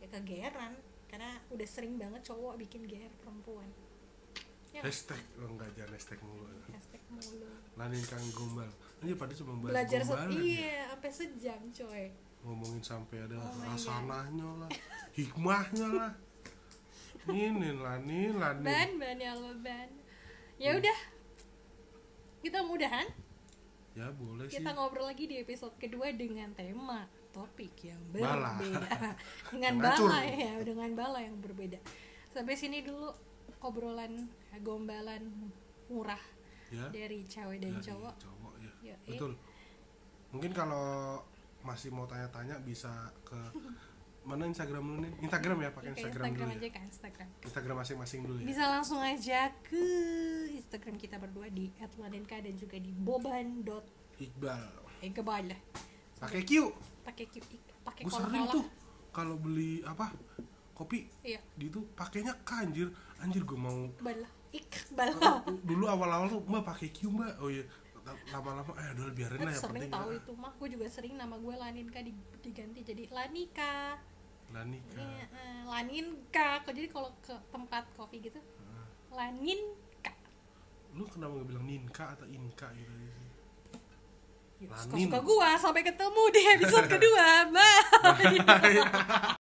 Speaker 1: ya kegeran karena udah sering banget cowok bikin GR perempuan ya nggak?
Speaker 2: hashtag oh, enggak jangan hashtag mulu
Speaker 1: hashtag mulu
Speaker 2: lanin kang gombal aja pada cuma bahas
Speaker 1: belajar se
Speaker 2: gombalan ya.
Speaker 1: iya sampai sejam coy
Speaker 2: ngomongin sampai ada
Speaker 1: Oh my God.
Speaker 2: rasanahnya lah hikmahnya lah ini lanin lanin
Speaker 1: ban ban ya Allah ban
Speaker 2: Hmm.
Speaker 1: ya udah kita mudahan
Speaker 2: ya boleh sih
Speaker 1: kita ngobrol lagi di episode kedua dengan tema topik yang
Speaker 2: Bala.
Speaker 1: berbeda dengan
Speaker 2: Ngacur.
Speaker 1: bala ya dengan bala yang berbeda sampai sini dulu obrolan gombalan murah
Speaker 2: ya
Speaker 1: dari cewek dan
Speaker 2: dari
Speaker 1: cowok
Speaker 2: cowok ya
Speaker 1: Yoi.
Speaker 2: betul mungkin kalau masih mau tanya-tanya bisa ke mana Instagram lu nih Instagram ya pakai
Speaker 1: Oke,
Speaker 2: Instagram,
Speaker 1: Instagram
Speaker 2: dulu
Speaker 1: aja
Speaker 2: ya
Speaker 1: kan Instagram
Speaker 2: Instagram masing-masing dulu ya
Speaker 1: bisa langsung aja ke Instagram kita berdua di @ladenka dan juga di boban dot
Speaker 2: Iqbal
Speaker 1: lah
Speaker 2: pakai Q
Speaker 1: pakai Q pakai
Speaker 2: gue
Speaker 1: kolom
Speaker 2: sering
Speaker 1: kolom.
Speaker 2: tuh kalau beli apa kopi
Speaker 1: iya
Speaker 2: di itu pakainya K anjir anjir gue mau
Speaker 1: balah iqbal
Speaker 2: dulu awal-awal tuh mbak pakai Q mbak oh iya lama-lama eh udah biarin
Speaker 1: Kan
Speaker 2: lah ya
Speaker 1: sering
Speaker 2: penting
Speaker 1: tahu itu mah gue juga sering nama gue Laninka di- diganti jadi Lanika
Speaker 2: Lanika
Speaker 1: Iya, eh, Laninka kok jadi kalau ke tempat kopi gitu
Speaker 2: Heeh.
Speaker 1: Laninka
Speaker 2: lu kenapa nggak bilang Ninka atau Inka gitu sih
Speaker 1: Ya,
Speaker 2: Lanin.
Speaker 1: suka-suka gue sampai ketemu di episode kedua bye